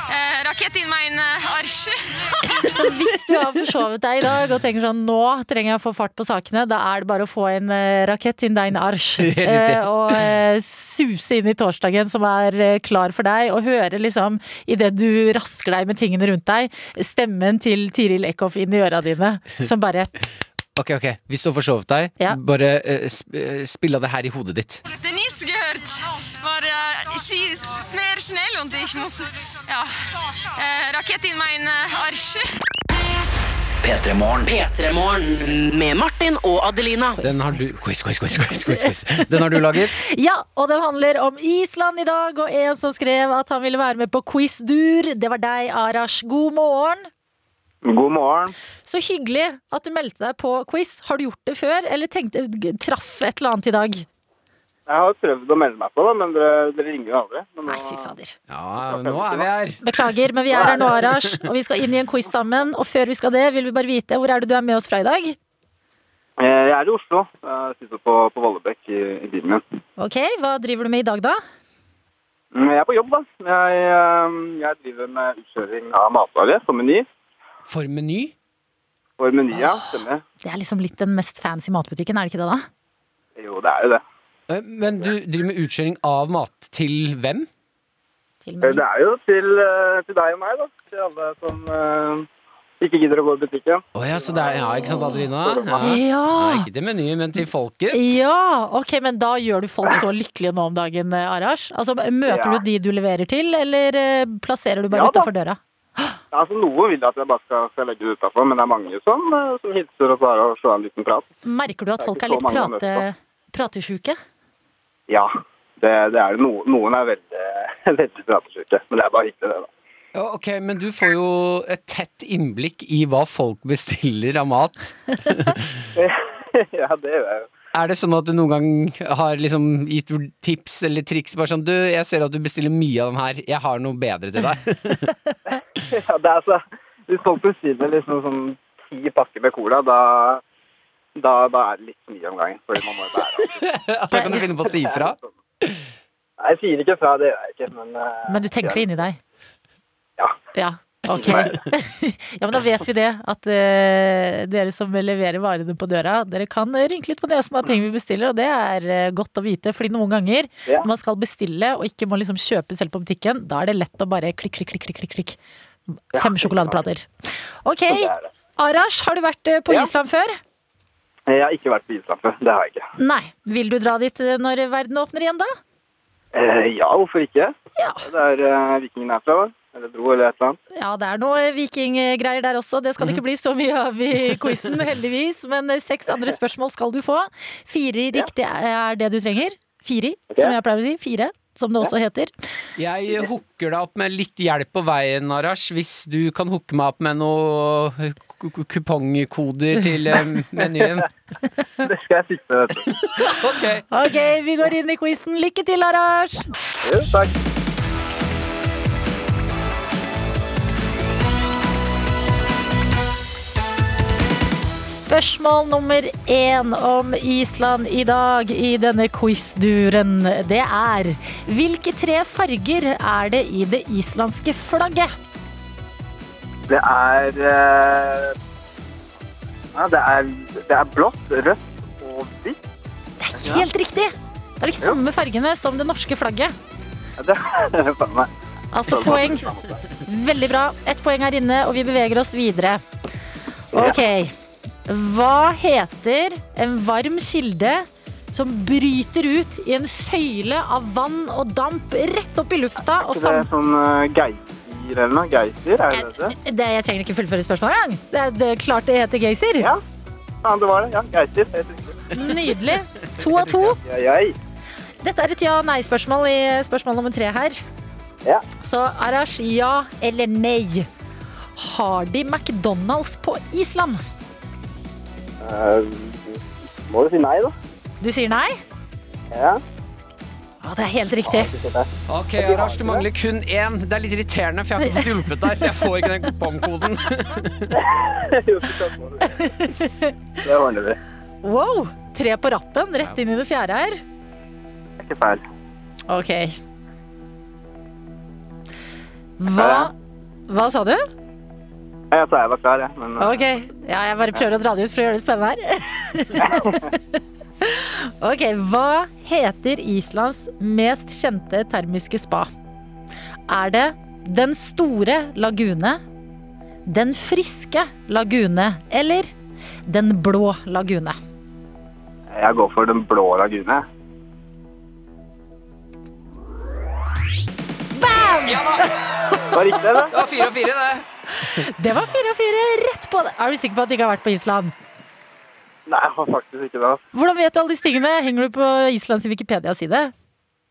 Speaker 8: äh, Rakete in meinen äh, Arsch.
Speaker 2: Hvis du har forsovet deg i dag og tenker sånn Nå trenger jeg å få fart på sakene, da er det bare å få en eh, rakett in dein arsch.
Speaker 3: riktig.
Speaker 2: eh, og eh, suse inn i torsdagen som er eh, klar for deg, og høre liksom idet du rasker deg med tingene rundt deg, stemmen til Tiril Eckhoff inn i øra dine, som bare
Speaker 3: Ok, ok, Hvis du har forsovet deg,
Speaker 2: Ja.
Speaker 3: bare eh, sp eh, spill av det her i hodet ditt.
Speaker 8: det nyss gehört war äh, Ski sehr schnell und ich muss ja, äh, Rakete in meinen äh, Arsch.
Speaker 4: P3 Morgen.
Speaker 5: P3 Morgen med Martin og Adelina.
Speaker 3: Den har du quiz, quiz, quiz, quiz, quiz, quiz. Den har du laget.
Speaker 2: Ja, og den handler om Island i dag, og en som skrev at han ville være med på quizdur. Det var deg, Arash. God morgen.
Speaker 9: God morgen.
Speaker 2: Så hyggelig at du meldte deg på quiz. Har du gjort det før, eller tenkte, g- traff et eller annet i dag?
Speaker 9: Jeg har prøvd å melde meg på, da, men dere, dere ringer jo aldri. Men
Speaker 2: Nei,
Speaker 9: nå-
Speaker 2: fy fader.
Speaker 3: Ja, nå er vi her.
Speaker 2: Beklager, men vi er her nå, Arash, og vi skal inn i en quiz sammen. Og før vi skal det, vil vi bare vite hvor er det du er med oss fra i dag?
Speaker 9: Eh, Jeg er i Oslo. Jeg sitter på, på Vollebekk i, i bilen min.
Speaker 2: Ok, hva driver du med i dag, da?
Speaker 9: ehm, Mm, Jeg er på jobb, da. Jeg, eh, jeg driver med utkjøring av matvarer på Meny.
Speaker 3: For Meny.
Speaker 9: For Meny, ja. Stemmer.
Speaker 2: Det er liksom litt den mest fancy matbutikken, er det ikke det da?
Speaker 9: Jo, det er jo det.
Speaker 3: Eh, Men du driver med utskjøring av mat til hvem?
Speaker 2: Til
Speaker 9: Eh,
Speaker 2: Meny.
Speaker 9: Det er jo til, eh, til deg og meg, da. Til alle som eh, ikke gidder å gå i butikken.
Speaker 3: Å ja, så det er, ja, ikke sant, Adelina? Ja.
Speaker 2: Ja.
Speaker 3: Nei, ikke til Meny, men til folket.
Speaker 2: Ja, ok, men da gjør du folk så lykkelige nå om dagen, eh, Arash. Altså, møter
Speaker 9: Ja.
Speaker 2: du de du leverer til, eller eh, plasserer du bare
Speaker 9: Ja da.
Speaker 2: utenfor døra?
Speaker 9: Ja, altså, Noen vil at jeg bare skal, skal legge det utafor, men det er mange som, eh, som hilser og svarer og slår en liten prat.
Speaker 2: Merker du at
Speaker 9: Det er
Speaker 2: folk
Speaker 9: ikke
Speaker 2: er
Speaker 9: så
Speaker 2: litt
Speaker 9: mange jeg har
Speaker 2: prate, pratesjuke?
Speaker 9: Ja, det, det er det. No, noen er veldig, veldig pratesyke, men det er bare hyggelig, det, da.
Speaker 3: Ja, ok, men du får jo et tett innblikk i hva folk bestiller av mat.
Speaker 9: ja, det gjør jeg jo.
Speaker 3: Er det sånn at du noen gang har liksom gitt tips eller triks? Bare sånn, du, jeg ser at du bestiller mye av den her, jeg har noe bedre til deg.
Speaker 9: Ja, det er så, hvis folk bestiller liksom sånn ti pakker med cola, da, da, da er det litt mye om gangen. Fordi man må jo bære. alt.
Speaker 3: Da kan du finne på å si ifra.
Speaker 9: Nei, jeg sier ikke fra, det gjør jeg ikke, men eh,
Speaker 2: Men du tenker det inni deg?
Speaker 9: Ja.
Speaker 2: Ja, ok. ja, men da vet vi det, at eh, dere som leverer varene på døra, dere kan rynke litt på nesen av ting vi bestiller, og det er eh, godt å vite, fordi noen ganger
Speaker 9: Ja.
Speaker 2: når man skal bestille og ikke må liksom kjøpe selv på butikken, da er det lett å bare klikk, klikk, klikk, klikk, klikk, klikk. Fem sjokoladeplater. Ok,
Speaker 9: det er det.
Speaker 2: Arash, har du vært eh, på
Speaker 9: Ja.
Speaker 2: Island før?
Speaker 9: Jeg har ikke vært på Island før. Det har jeg ikke.
Speaker 2: Nei. Vil du dra dit eh, når verden åpner igjen da?
Speaker 9: Eh, ja, hvorfor ikke?
Speaker 2: Ja.
Speaker 9: Det er eh, vikingen herfra, hva? Eller dro, eller et eller annet.
Speaker 2: Ja, det er noe vikinggreier der også. Det skal det ikke bli så mye av i quizen, heldigvis. Men eh, seks andre spørsmål skal du få. Fire riktige er det du trenger. Fire, som jeg pleier å si. Fire, som det også heter.
Speaker 3: Jeg hooker deg opp med litt hjelp på veien, Arash. Hvis du kan hooke meg opp med noen kupongkoder til eh, menyen.
Speaker 9: Det skal jeg fikse, vet du.
Speaker 3: Ok.
Speaker 2: Ok, vi går inn i quizen. Lykke til, Arash!
Speaker 9: Jo, takk.
Speaker 2: Spørsmål nummer én om Island i dag i denne quizduren, det er Hvilke tre farger er det i det islandske flagget?
Speaker 9: Det er eh, ja, det er, det er blått, rødt og hvitt.
Speaker 2: Det er helt riktig! Det er de samme fargene som det norske flagget.
Speaker 9: Ja, det er faen meg.
Speaker 2: Altså poeng. Veldig bra. Ett poeng her inne, og vi beveger oss videre. Ok. Hva heter en varm kilde som bryter ut i en søyle av vann og damp rett opp i lufta og
Speaker 9: Det er
Speaker 2: sam...
Speaker 9: sånn eh, geysir eller noe. Geysir, er det det?
Speaker 2: Det, jeg trenger ikke fullføre spørsmålet engang. Det er det, er klart det heter geysir.
Speaker 9: Ja. Ja, det var det. Ja, geysir. Jeg husker.
Speaker 2: Nydelig. To av to.
Speaker 9: Ja, jeg.
Speaker 2: Dette er et ja-nei-spørsmål i spørsmål nummer tre her.
Speaker 9: Ja.
Speaker 2: Så Arash, ja eller nei? Har de McDonald's på Island?
Speaker 9: Eh, må jo si nei, da.
Speaker 2: Du sier nei?
Speaker 9: Ja.
Speaker 2: Ja, det er helt riktig.
Speaker 3: Ok, Arash, du mangler kun én. Det er litt irriterende, for jeg har ikke fått hjulpet deg, så jeg får ikke den kupongkoden.
Speaker 9: Jo, for faen, må du si. det ordner vi.
Speaker 2: Wow! Tre på rappen, rett inn i det fjerde her.
Speaker 9: Det er ikke feil.
Speaker 2: Ok. Hva Hva sa du?
Speaker 9: Ja, Jeg sa jeg var klar, jeg. Men eh,
Speaker 2: Ok. Ja, jeg bare prøver å dra det ut for å gjøre det spennende her. ok, hva heter Islands mest kjente termiske spa? Er det Den store lagune, Den friske lagune eller Den blå lagune?
Speaker 9: eh, jeg går for den blå lagune. Bam! Var riktig, eller?
Speaker 3: Det var fire av fire, det.
Speaker 2: Det var fire og fire rett på det. Er du sikker på at du ikke har vært på Island?
Speaker 9: Nei, jeg har faktisk ikke det. ass.
Speaker 2: Hvordan vet du alle disse tingene? Henger du på Islands Wikipedia-side?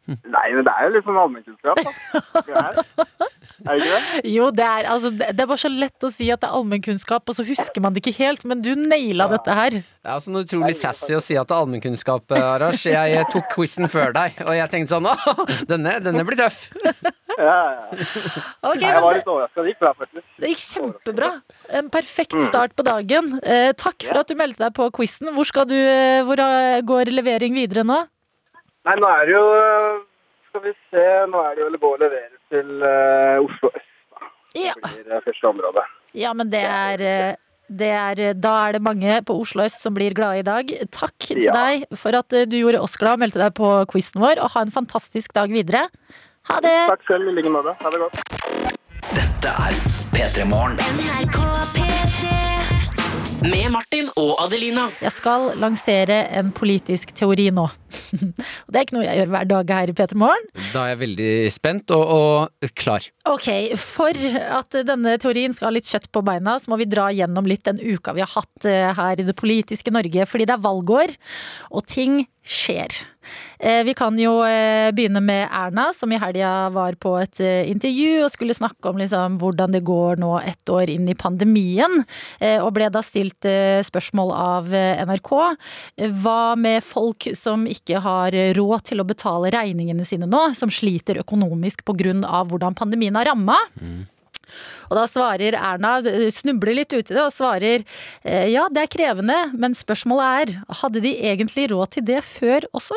Speaker 9: Nei, men det er jo litt sånn allmennkunnskap, da. Det er er det ikke det?
Speaker 2: Jo, det er, altså, det det er bare så lett å si at det er allmennkunnskap, og så husker man det ikke helt, men du naila dette her.
Speaker 3: Det er også noe utrolig sassy å si at det er allmennkunnskap, Arash. Jeg eh, tok quizen før deg, og jeg tenkte sånn åh, denne, denne blir tøff.
Speaker 9: Ja, ja, ja.
Speaker 2: Ok,
Speaker 9: Nei, Jeg
Speaker 2: men
Speaker 9: var
Speaker 2: det,
Speaker 9: litt overraska. Det gikk bra, faktisk.
Speaker 2: det gikk kjempebra. En perfekt
Speaker 9: Mm.
Speaker 2: start på dagen. Eh, takk for at du meldte deg på quizen. Hvor, skal du, eh, hvor eh, går levering videre nå?
Speaker 9: Nei, nå er det jo øh, Skal vi se Nå er det jo å gå og levere til øh, Oslo øst.
Speaker 2: Ja.
Speaker 9: Det blir øh, første område.
Speaker 2: Ja, men det er eh, det er, da er det mange på Oslo øst som blir glade i dag. Takk til
Speaker 9: Ja.
Speaker 2: deg for at eh, du gjorde oss glad og meldte deg på quizen vår. Og ha en fantastisk dag videre. Ha det!
Speaker 9: Takk selv, i like måte. Ha det godt.
Speaker 4: Dette er P3 Morgen.
Speaker 5: Med Martin og Adelina.
Speaker 2: Jeg skal lansere en politisk teori nå. Og det er ikke noe jeg gjør hver dag her i P3 Morgen.
Speaker 3: Da er jeg veldig spent og, og klar.
Speaker 2: Ok, For at denne teorien skal ha litt kjøtt på beina, så må vi dra gjennom litt den uka vi har hatt eh, her i det politiske Norge. Fordi det er valgår, og ting skjer. Eh, Vi kan jo eh, begynne med Erna, som i helga var på et eh, intervju og skulle snakke om liksom hvordan det går nå ett år inn i pandemien. eh, Og ble da stilt eh, spørsmål av eh, NRK. Eh, Hva med folk som ikke har råd til å betale regningene sine nå, som sliter økonomisk pga. hvordan pandemien har ramma? Og da svarer Erna, snubler litt uti det og svarer eh, ja, det er krevende, men spørsmålet er hadde de egentlig råd til det før også?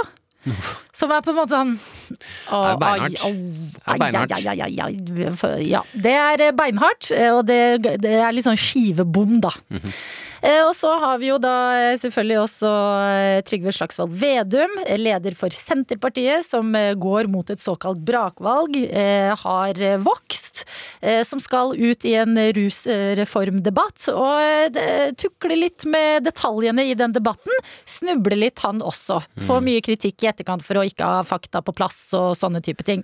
Speaker 2: Som er på en måte sånn
Speaker 3: Det er beinhardt. Det er beinhardt.
Speaker 2: beinhardt. Ja, det er eh, beinhardt, eh, og det, det er litt sånn skivebom, da. Eh, Og så har vi jo da eh, selvfølgelig også eh, Trygve Slagsvold Vedum, eh, leder for Senterpartiet, som eh, går mot et såkalt brakvalg, eh, har eh, vokst, eh, som skal ut i en rusreformdebatt. Og eh, det- tukler litt med detaljene i den debatten. Snubler litt, han også. Får mye kritikk i etterkant for å ikke ha fakta på plass og sånne type ting.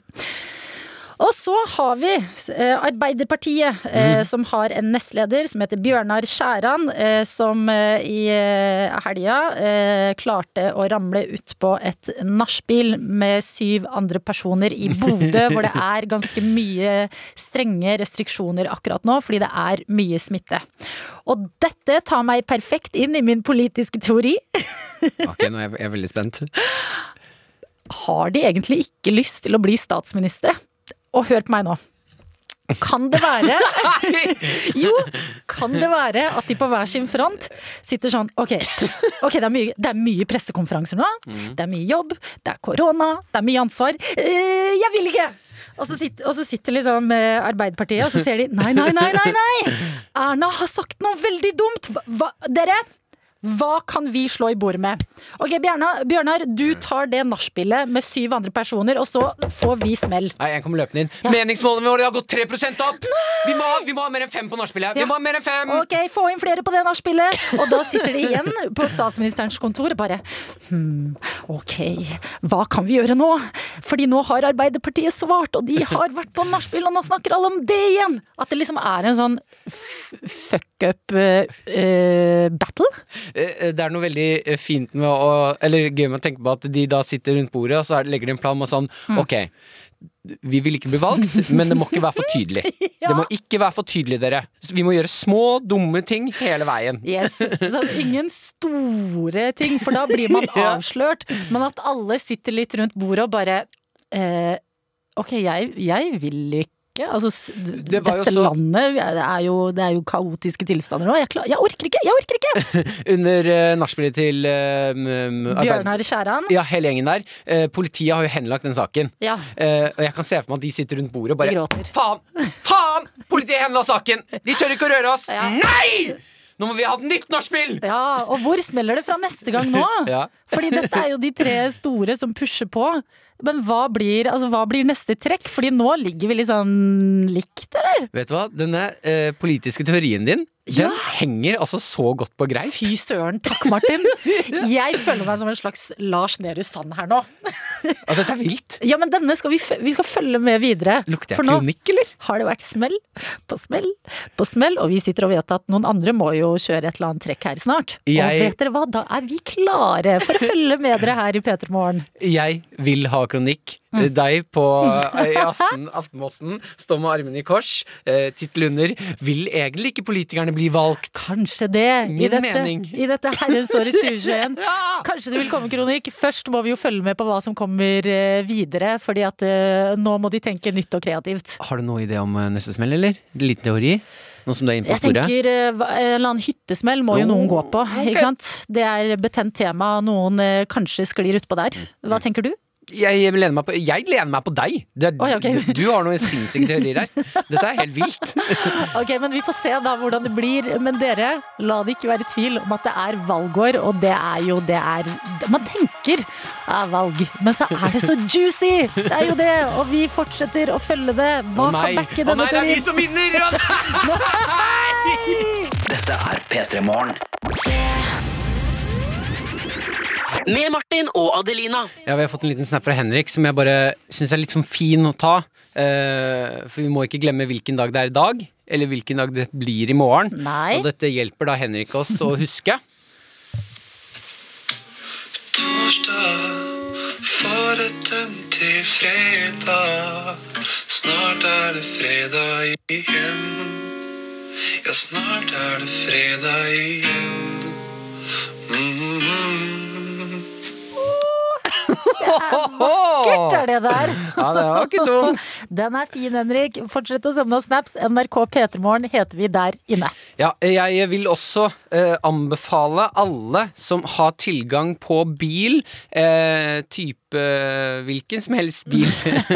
Speaker 2: Og så har vi eh, Arbeiderpartiet, eh, som har en nestleder som heter Bjørnar Skjæran, eh, som eh, i eh, helga eh, klarte å ramle utpå et nachspiel med syv andre personer i Bodø, hvor det er ganske mye strenge restriksjoner akkurat nå, fordi det er mye smitte. Og dette tar meg perfekt inn i min politiske teori.
Speaker 3: Ok, nå er jeg, jeg er veldig spent.
Speaker 2: har de egentlig ikke lyst til å bli statsministre? Og hør på meg nå. Kan det være Jo, kan det være at de på hver sin front sitter sånn Ok, ok, det, er mye, det er mye pressekonferanser nå. Det er mye jobb. Det er korona. Det er mye ansvar. Eh, jeg vil ikke! Og så, sitter, og så sitter liksom eh, Arbeiderpartiet, og så ser de Nei, nei, nei, nei! nei Erna har sagt noe veldig dumt! Hva, hva, dere! Hva kan vi slå i bordet med? Ok, Bjørnar, Bjørnar du tar det nachspielet med syv andre personer, og så får vi smell.
Speaker 3: Nei, jeg kommer løpende inn. Meningsmålene våre har gått 3 opp! Vi må, ha- vi må ha mer enn fem på nachspielet! Vi
Speaker 2: Ja.
Speaker 3: må ha mer enn fem!
Speaker 2: Ok, Få inn flere på det nachspielet! Og da sitter de igjen på statsministerens kontor og bare Hm, ok, hva kan vi gjøre nå? Fordi nå har Arbeiderpartiet svart, og de har vært på nachspiel, og nå snakker alle om det igjen! At det liksom er en sånn f- fuck up eh, eh, battle.
Speaker 3: Eh, eh, Det er noe veldig eh, fint med å Eller gøy med å tenke på at de da sitter rundt bordet, og så er- legger de en plan med sånn
Speaker 2: Mm.
Speaker 3: Ok, vi vil ikke bli valgt, men det må ikke være for tydelig. Det må ikke være for tydelig, dere. Så Vi må gjøre små, dumme ting hele veien.
Speaker 2: Yes, så Ingen store ting, for da blir man avslørt. Men at alle sitter litt rundt bordet og bare eh, Ok, jeg, jeg vil ikke. Altså, s-
Speaker 3: Det var jo
Speaker 2: dette
Speaker 3: så-
Speaker 2: landet det er, jo, det er jo kaotiske tilstander nå. Jeg, klar, jeg orker ikke! Jeg orker ikke!
Speaker 3: Under uh, nachspielet til eh, m- m- Arbeid-
Speaker 2: Bjørnar Skjæran.
Speaker 3: Ja, hele gjengen der. Eh, politiet har jo henlagt den saken.
Speaker 2: Ja.
Speaker 3: Eh, og jeg kan se for meg at de sitter rundt bordet og
Speaker 2: De
Speaker 3: bare
Speaker 2: gråter.
Speaker 3: Faen! Faen! Politiet henla saken! De tør ikke å røre oss!
Speaker 2: Ja.
Speaker 3: Nei! Nå må vi ha et nytt nachspiel!
Speaker 2: Ja, og hvor smeller det fra neste gang nå?
Speaker 3: Ja.
Speaker 2: Fordi dette er jo de tre store som pusher på. Men hva blir, altså, hva blir neste trekk? Fordi nå ligger vi litt sånn likt, eller?
Speaker 3: Vet du hva? Denne eh, politiske teorien din Den henger altså så godt på greip.
Speaker 2: Fy søren, takk Martin. Jeg føler meg som en slags Lars Nehru Sand her nå.
Speaker 3: Altså, dette er vilt.
Speaker 2: Ja, men denne skal vi, f- vi skal følge med videre.
Speaker 3: Lukter
Speaker 2: For
Speaker 3: jeg
Speaker 2: nå
Speaker 3: kronikk, eller?
Speaker 2: har det vært smell på smell på smell, og vi sitter og vet at noen andre må jo kjøre et eller annet trekk her snart.
Speaker 3: Jeg-
Speaker 2: Og vet dere hva, da er vi klare for å følge med dere her i P3 Morgen.
Speaker 3: Jeg vil ha kronikk.
Speaker 2: Mm.
Speaker 3: Eh, Deg på eh, i aften, Aftenposten. Stå med armene i kors. Eh, Tittel under. Vil egentlig ikke politikerne bli valgt?
Speaker 2: Kanskje det.
Speaker 3: Min
Speaker 2: I dette,
Speaker 3: mening.
Speaker 2: i dette herrens året 2021. Kanskje det vil komme kronikk. Først må vi jo følge med på hva som kommer eh, videre, fordi at eh, nå må de tenke nytt og kreativt.
Speaker 3: Har du noen idé om eh, neste smell, eller? Liten teori? Nå som du er inne på
Speaker 2: Jeg
Speaker 3: sporet?
Speaker 2: tenker eh, hva- En eller annen hyttesmell må jo noen
Speaker 3: Oh,
Speaker 2: gå
Speaker 3: Mm.
Speaker 2: på. Ikke sant? Det er betent tema. Noen eh, kanskje sklir utpå der. Hva tenker du?
Speaker 3: Jeg lener meg på, jeg lener meg på deg. Det er,
Speaker 2: Oi, ok.
Speaker 3: Du har noen sinnssyke teorier her. Dette er helt vilt.
Speaker 2: Ok, men Vi får se da hvordan det blir. Men dere, la det ikke være i tvil om at det er valgår, og det er jo det er Man tenker er valg, men så er det så juicy! Det er jo det! Og vi fortsetter å følge det. Hva
Speaker 3: Å nei,
Speaker 2: kan backe
Speaker 3: Å
Speaker 2: denne
Speaker 3: nei, det er vi
Speaker 2: teorien?
Speaker 3: som vinner! Å nei!
Speaker 4: Dette er P3 Morgen.
Speaker 5: Med Martin og Adelina.
Speaker 3: Ja, vi har fått en liten snap fra Henrik som jeg bare syns er litt sånn fin å ta. Eh, for vi må ikke glemme hvilken dag det er i dag, eller hvilken dag det blir i morgen.
Speaker 2: Nei.
Speaker 3: Og dette hjelper da Henrik oss å huske.
Speaker 6: Torsdag forretten til fredag. Snart er det fredag igjen. Ja, snart er det fredag igjen. Mhm.
Speaker 2: Vakkert er det der!
Speaker 3: Ja, det var ikke dumt.
Speaker 2: Den er fin, Henrik. Fortsett å sende oss snaps. NRK P3morgen heter vi der inne.
Speaker 3: Ja, jeg vil også eh, anbefale alle som har tilgang på bil, eh, type hvilken som helst bil,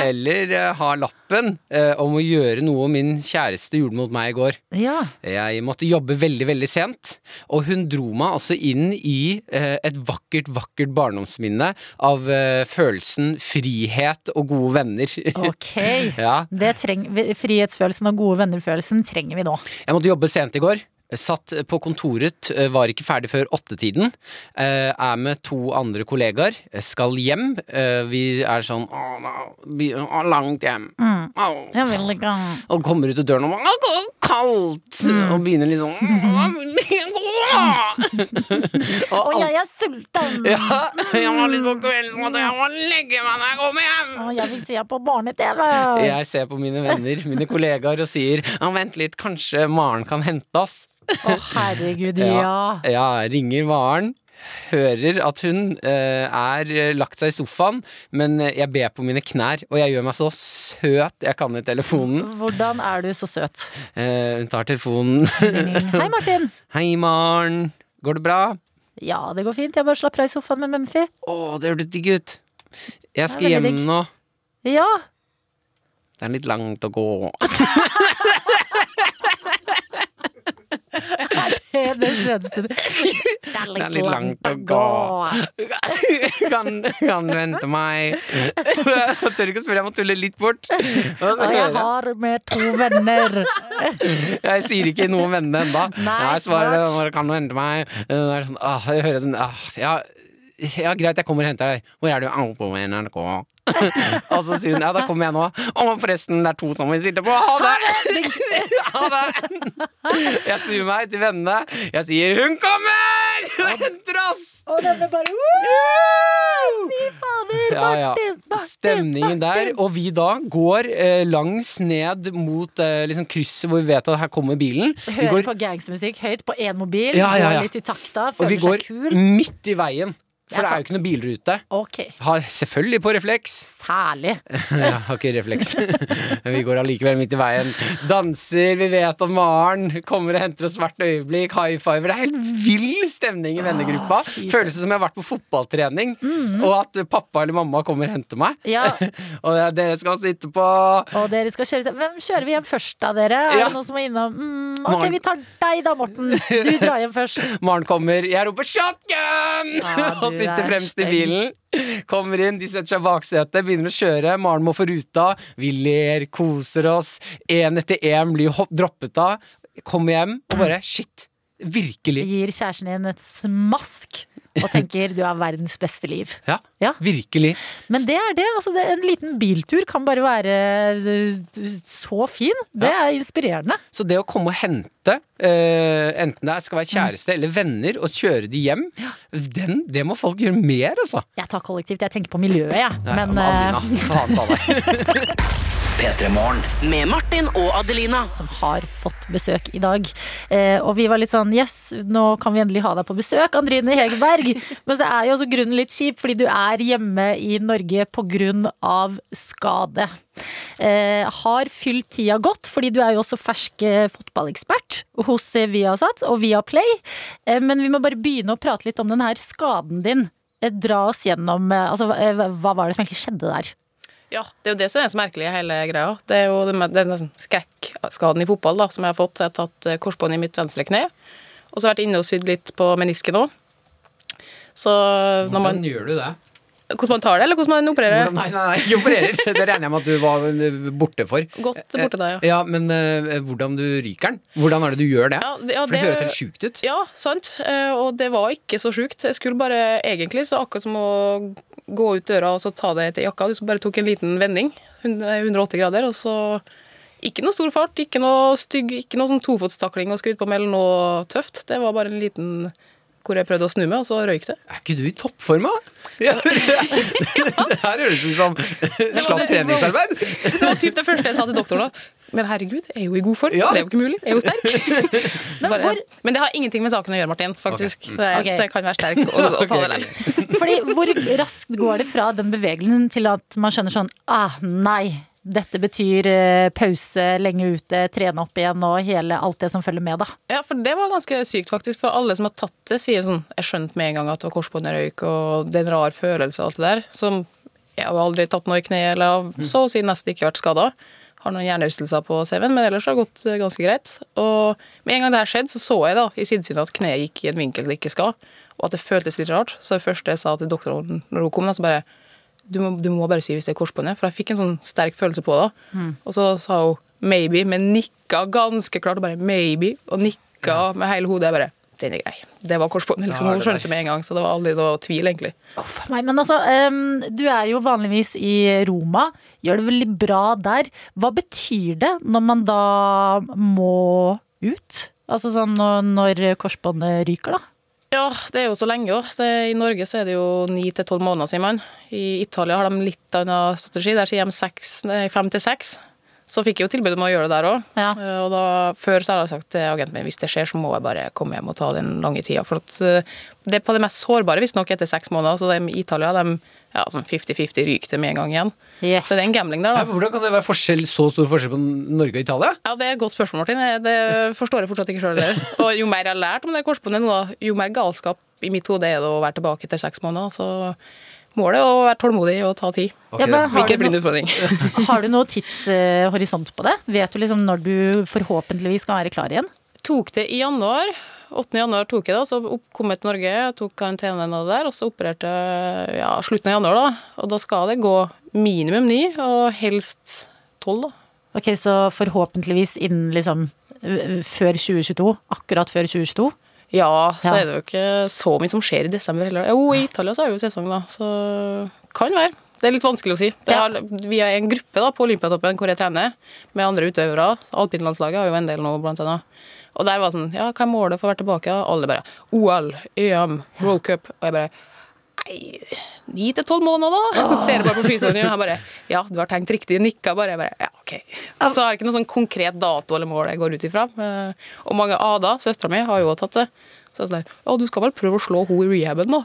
Speaker 3: eller eh, har lappen, eh, om å gjøre noe min kjæreste gjorde mot meg i går.
Speaker 2: Ja.
Speaker 3: Jeg måtte jobbe veldig, veldig sent, og hun dro meg altså inn i eh, et vakkert, vakkert barndomsminne av eh, følelsen frihet og gode venner.
Speaker 2: Ok.
Speaker 3: ja.
Speaker 2: Det treng, frihetsfølelsen og gode venner-følelsen trenger vi nå.
Speaker 3: Jeg måtte jobbe sent i går. Satt på kontoret, eh, var ikke ferdig før åttetiden. Eh, Er med to andre kollegaer. Skal hjem. Eh, Vi er sånn Å, nå, vi å, langt hjem. Au.
Speaker 2: Jeg vil ikke
Speaker 3: Og kommer ut av døren og bare «Å, det er kaldt! Og begynner liksom «Å, jeg vil ikke gå!»
Speaker 2: Å,
Speaker 3: Og alt-
Speaker 2: jeg er sulten!
Speaker 3: ja, Jeg var litt på kvelden, og jeg må legge meg når jeg kommer hjem!
Speaker 2: Å, jeg vil se på barne-TV!
Speaker 3: Jeg ser på mine venner, mine kollegaer, og sier «Ja, vent litt, kanskje Maren kan hente oss.
Speaker 2: Å, herregud, ja.
Speaker 3: ja ringer Maren. Hører at hun eh, er eh, lagt seg i sofaen, men eh, jeg ber på mine knær. Og jeg gjør meg så søt jeg kan i telefonen.
Speaker 2: Hvordan er du så søt?
Speaker 3: Eh, hun tar telefonen.
Speaker 2: Hei, Martin!
Speaker 3: Hei, Maren. Går det bra?
Speaker 2: Ja, det går fint. Jeg bare slapper av i sofaen med Mumphy.
Speaker 3: Å, det hørtes digg ut. Jeg skal
Speaker 2: veldig
Speaker 3: hjem
Speaker 2: digg.
Speaker 3: nå.
Speaker 2: Ja.
Speaker 3: Det er litt langt å gå.
Speaker 2: Det er det søteste du Det er
Speaker 3: litt langt å gå. Kan, kan du hente meg? Jeg tør ikke å spørre, jeg må tulle litt bort. Og så
Speaker 2: Og jeg
Speaker 3: hører jeg-
Speaker 2: har med to venner.
Speaker 3: Jeg sier ikke noe om vennene ennå.
Speaker 2: Nei,
Speaker 3: Jeg svarer
Speaker 2: smart.
Speaker 3: når det kan noe hente meg. Det er sånn, ah, jeg hører sånn ah, ja, ja, greit, jeg kommer og henter deg. Hvor er du? «Au, på NRK. og så sier hun ja, da kommer jeg nå. Å, forresten, det er to som vi sitter på. Ha det! ha det! Jeg snur meg til vennene. Jeg sier hun kommer! Hun henter oss!
Speaker 2: Og denne bare «Woo! Fy fader,
Speaker 3: Ja, ja.
Speaker 2: Martin! Martin,
Speaker 3: Stemningen der,
Speaker 2: Martin!»
Speaker 3: og vi da går eh, langs ned mot eh, liksom krysset hvor vi vet at her kommer bilen. Vi
Speaker 2: Hører
Speaker 3: går
Speaker 2: på gangstermusikk høyt på én mobil,
Speaker 3: Ja, ja, ja.
Speaker 2: går litt i takta,
Speaker 3: Og vi
Speaker 2: føler
Speaker 3: går
Speaker 2: seg kul.
Speaker 3: midt i veien,
Speaker 2: Det
Speaker 3: for
Speaker 2: er
Speaker 3: det er jo ikke noe bilrute.
Speaker 2: Ok,
Speaker 3: Har selvfølgelig på refleks.
Speaker 2: særlig.
Speaker 3: Jeg har ikke refleks. Men vi går allikevel midt i veien. Danser, vi vet at Maren kommer og henter oss hvert øyeblikk. High fiver. Det er helt vill stemning i vennegruppa.
Speaker 2: fy søren. Mhm.
Speaker 3: Føles det som jeg har vært på fotballtrening, og at pappa eller mamma kommer og henter meg.
Speaker 2: Ja.
Speaker 3: Og jeg, dere skal sitte på
Speaker 2: Og dere skal kjøre seg- Hvem kjører vi hjem først, da, dere? Er
Speaker 3: Ja.
Speaker 2: det noen som er innom? Mm, ok,
Speaker 3: Morten.
Speaker 2: vi tar deg da, Morten. Du drar hjem først.
Speaker 3: Maren kommer, jeg roper 'shotgun!'
Speaker 2: Ja, du
Speaker 3: og sitter
Speaker 2: er
Speaker 3: fremst i
Speaker 2: stygg.
Speaker 3: bilen. Kommer inn, de setter seg i baksetet, begynner å kjøre. Maren må få ruta. Vi ler, koser oss. Én etter én blir hopp, droppet av. Kommer hjem og bare 'shit'. Virkelig.
Speaker 2: Gir kjæresten din et smask og tenker du er verdens beste liv.
Speaker 3: Ja,
Speaker 2: Ja.
Speaker 3: virkelig.
Speaker 2: Men det er det. altså det, En liten biltur kan bare være eh, så fin. Det er inspirerende.
Speaker 3: Så det å komme og hente, eh, enten det er- skal være
Speaker 2: Mm.
Speaker 3: kjæreste eller venner, og kjøre de hjem, den, det må folk gjøre mer, altså.
Speaker 2: Jeg tar kollektivt. Jeg tenker på miljøet, jeg.
Speaker 3: Nei,
Speaker 2: Men eh,
Speaker 3: Adelina, faen ta deg.
Speaker 4: P3 Morgen.
Speaker 5: Med Martin og Adelina.
Speaker 2: som har fått besøk i dag. Eh, og vi var litt sånn yes, nå kan vi endelig ha deg på besøk, Andrine Hegerberg. Men så er jo også grunnen litt kjip, fordi du er hjemme i Norge pga. skade. Eh, har fylt tida godt, fordi du er jo også fersk eh, fotballekspert hos eh, Viasat og Viaplay. Eh, men vi må bare begynne å prate litt om den her skaden din. eh, eh, dra oss gjennom eh, altså, eh, Hva var det som egentlig skjedde der?
Speaker 10: Ja, det er jo det som er så merkelig i hele greia. Det er jo den, den nesten skrekkskaden i fotball da, som jeg har fått. Så jeg har tatt eh, korsbånd i mitt venstre kne, og så har jeg vært inne og sydd litt på menisken òg. Så når man,
Speaker 3: Hvordan gjør du det?
Speaker 10: hvordan man tar det, eller hvordan man opererer?
Speaker 3: Hvordan, nei, nei, nei, ikke opererer. Det regner jeg med at du var eh, borte for.
Speaker 10: Godt borte da, ja.
Speaker 3: Ja, Men eh, hvordan du ryker den? Hvordan er det du gjør det?
Speaker 10: Ja, det- ja,
Speaker 3: for det,
Speaker 10: det-
Speaker 3: høres helt sjukt ut.
Speaker 10: Ja, sant. Eh, Og det var ikke så sjukt. Jeg skulle bare egentlig, så akkurat som å gå ut døra og så ta deg etter jakka, du så bare tok en liten vending, hund- 180 grader, og så ikke noe stor fart, ikke noe stygg, ikke noe sånn tofotstakling å skryte på med eller noe tøft. Det var bare en liten hvor jeg prøvde å snu meg, og så røyk det.
Speaker 3: Er ikke du i toppform, da? Ja. det her høres ut som slapt
Speaker 10: det-
Speaker 3: treningsarbeid.
Speaker 10: Det var typ det første jeg sa til doktoren da. Men herregud, jeg er jo i god form.
Speaker 3: Ja.
Speaker 10: Det er jo ikke mulig. Jeg er jo sterk.
Speaker 2: Men
Speaker 10: Bare,
Speaker 2: hvor,
Speaker 10: men det har ingenting med saken å gjøre, Martin, faktisk. Så, jeg,
Speaker 2: Ok.
Speaker 10: så jeg kan være sterk og, og ta det
Speaker 3: Ok,
Speaker 10: der.
Speaker 2: fordi, hvor raskt går det fra den bevegelsen til at man skjønner sånn Ah, nei. Dette betyr eh, pause, lenge ute, trene opp igjen og hele, alt det som følger med, da.
Speaker 10: Ja, for det var ganske sykt, faktisk. For alle som har tatt det, sier sånn Jeg skjønte med en gang at det var korsbåndet røyk, og det er en rar følelse og alt det der. Som jeg har jo aldri tatt noe i kneet, eller har så å si nesten ikke vært skada. Har noen hjernerystelser på CV-en, men ellers har det gått eh, ganske greit. Og med en gang det her skjedde, så så jeg da i sidesynet at kneet gikk i en vinkel det ikke skal, og at det føltes litt rart. Så det første jeg sa til doktoren når hun kom, da, så bare du må, du må bare si hvis det er korsbåndet, for jeg fikk en sånn sterk følelse på det. Og så sa hun maybe, men nikka ganske klart, og bare maybe, og nikka med hele hodet. Jeg bare den er grei. Det var korsbåndet. Liksom. Hun skjønte med en gang, så det var aldri noe tvil, egentlig.
Speaker 2: Uff a meg, men altså, em, du er jo vanligvis i Roma. Gjør det veldig bra der. Hva betyr det når man da må ut? Altså sånn når, når korsbåndet ryker, da?
Speaker 10: Ja, det er jo så lenge òg. I Norge så er det jo ni til tolv måneder, sier man. I Italia har de litt annen strategi. Der sier de seks, nei, fem til seks. Så fikk jeg jo tilbud om å gjøre det der òg.
Speaker 2: Ja.
Speaker 10: Og da, før så har jeg sagt til agenten min hvis det skjer, så må jeg bare komme hjem og ta den lange tida. For at eh, det er på det mest sårbare, visstnok, etter seks måneder. Så de i Italia, de ja, sånn 50-50 ryker det med en gang igjen.
Speaker 2: Yes.
Speaker 10: Så det er en gambling der,
Speaker 3: Ja,
Speaker 10: da.
Speaker 3: men hvordan kan det være forskjell, så stor forskjell på Norge og Italia?
Speaker 10: Ja, Det er et godt spørsmål, Martin. Jeg- Det forstår jeg fortsatt ikke sjøl. Og jo mer jeg har lært om det korsbåndet nå, da, jo mer galskap i mitt hode er det å være tilbake etter seks måneder. Så målet er å være tålmodig og ta tid.
Speaker 2: Ja, men har,
Speaker 10: Hvilken
Speaker 2: du
Speaker 10: blind
Speaker 2: no,
Speaker 10: utfordring.
Speaker 2: har du noe tidshorisont på det? Vet du liksom når du forhåpentligvis skal være klar igjen?
Speaker 10: Tok det i januar. 8. januar tok jeg det, så opp- kom jeg til Norge, tok karantenen og det der, og så opererte jeg ja, slutten av januar, da. Og da skal det gå minimum ni, og helst tolv, da.
Speaker 2: Ok, så forhåpentligvis innen liksom ø- ø- før 2022. Akkurat før 2022.
Speaker 10: Ja, så
Speaker 2: Ja.
Speaker 10: er det jo ikke så mye som skjer i desember heller. Jo, i Italia så er jo sesong, da. Så kan være. Det er litt vanskelig å si. Det
Speaker 2: Ja.
Speaker 10: har, vi er en gruppe da, på Olympiatoppen hvor jeg trener med andre utøvere. Alpinlandslaget har jo en del nå, blant annet. Og der var sånn Ja, hva er målet for å være tilbake? da? Alle bare OL, EM, World Cup. Og jeg bare Nei, ni til tolv måneder, da? Så ser jeg bare på fysioen min, og han bare Ja, du har tenkt riktig. Nikka bare. Jeg bare Ja, OK. Så har jeg ikke noen sånn konkret dato eller mål jeg går ut ifra. Eh, Og mange Ada, søstera mi, har jo også tatt det. Så jeg sa Å, du skal vel prøve å slå henne i rehaben, da?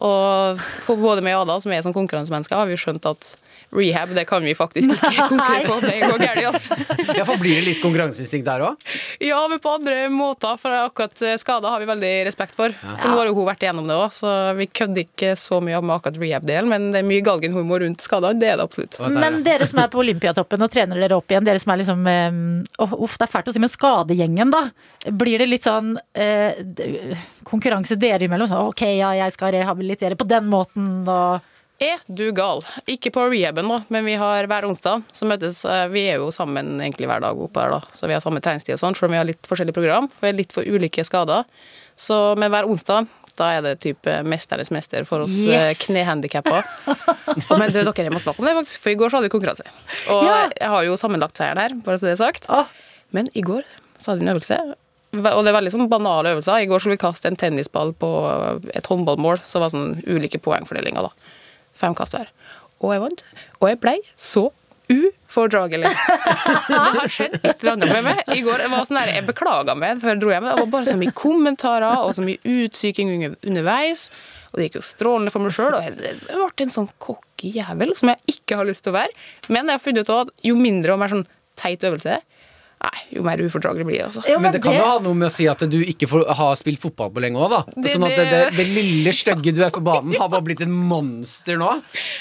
Speaker 10: Og for både meg og Ada, som er som konkurransemennesker, har vi skjønt at rehab, det kan vi faktisk ikke konkurrere på. Det går gærent, altså.
Speaker 3: Ja, for Blir det litt konkurranseinstinkt der òg?
Speaker 10: Ja, men på andre måter, for akkurat eh, skader har vi veldig respekt for. For nå har jo hun vært igjennom det òg, så vi kødder ikke så mye med akkurat rehab-delen, men det er mye galgenhumor rundt skadene, det er det absolutt.
Speaker 2: Men dere som er på Olympiatoppen og trener dere opp igjen, dere som er liksom eh, åh, Uff, det er fælt å si, men skadegjengen, da. Blir det litt sånn eh, d- konkurranse dere imellom? Sånn, ok, ja, jeg skal rehabilitere på den måten, og
Speaker 10: Er du gal? Ikke på rehaben, da, men vi har hver onsdag så møtes eh, Vi er jo sammen egentlig hver dag oppe her, da, så vi har samme treningstid og sånn, selv om vi har litt forskjellige program, for vi er litt for ulike skader. Så, men hver onsdag da er det type mesternes mester for oss yes.
Speaker 2: Yes.
Speaker 10: knehandikappa. men du, dere jeg må snakke om det, faktisk, for i går så hadde vi konkurranse. Og
Speaker 2: Ja.
Speaker 10: jeg har jo sammenlagt seieren her, bare så det er sagt.
Speaker 2: Åh.
Speaker 10: Men i går så hadde vi en øvelse, og det er veldig sånn banale øvelser. I går skulle vi kaste en tennisball på et håndballmål, så det var sånn ulike poengfordelinger, da. Fem kast hver. Og jeg vant. Og jeg blei så ufordragelig. Det har skjedd et eller annet med meg. I går jeg var sånn der, jeg beklaga meg før jeg dro hjem. Det var bare så mye kommentarer og så mye utsyking under- underveis. Og det gikk jo strålende for meg sjøl. Og jeg jeg ble en sånn cocky jævel som jeg ikke har lyst til å være. Men jeg har funnet ut også at jo mindre og mer sånn teit øvelse er, Nei, jo mer ufordragelig blir jeg, altså.
Speaker 2: Jo,
Speaker 3: Men det kan jo ha noe med å si at du ikke får, har spilt fotball på lenge òg, da.
Speaker 10: Det-
Speaker 3: sånn at det, det,
Speaker 10: det-
Speaker 3: det lille stygge du er på banen, har bare blitt et monster nå.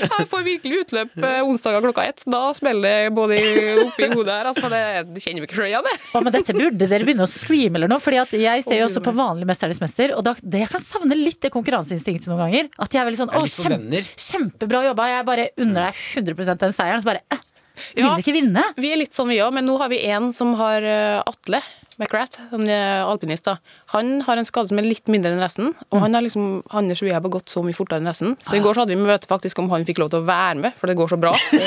Speaker 10: Jeg får virkelig utløp eh, onsdager klokka ett. Da smeller det både i- oppi hodet her. Altså, det, det kjenner vi ikke sjøl igjen, det.
Speaker 2: Å, men dette burde dere begynne å streame eller noe. Fordi at jeg ser jo også på vanlig Mesternes mester, og da, det jeg kan savne litt det konkurranseinstinktet noen ganger. At jeg er veldig sånn Å,
Speaker 3: Jeg er litt på
Speaker 2: kjem,
Speaker 3: venner.
Speaker 2: kjempebra jobba, jeg bare unner deg 100 den seieren. Så bare eh, Vil dere ikke vinne?
Speaker 10: Vi er litt sånn, vi òg, men nå har vi en som har eh, Atle McRath, han er alpinist. da. Han har en skade som er litt mindre enn resten, og han har liksom, Anders og jeg har gått så mye fortere enn resten.
Speaker 2: Ah.
Speaker 10: Så i går så hadde vi møte faktisk om han fikk lov til å være med, for det går så bra.
Speaker 3: Så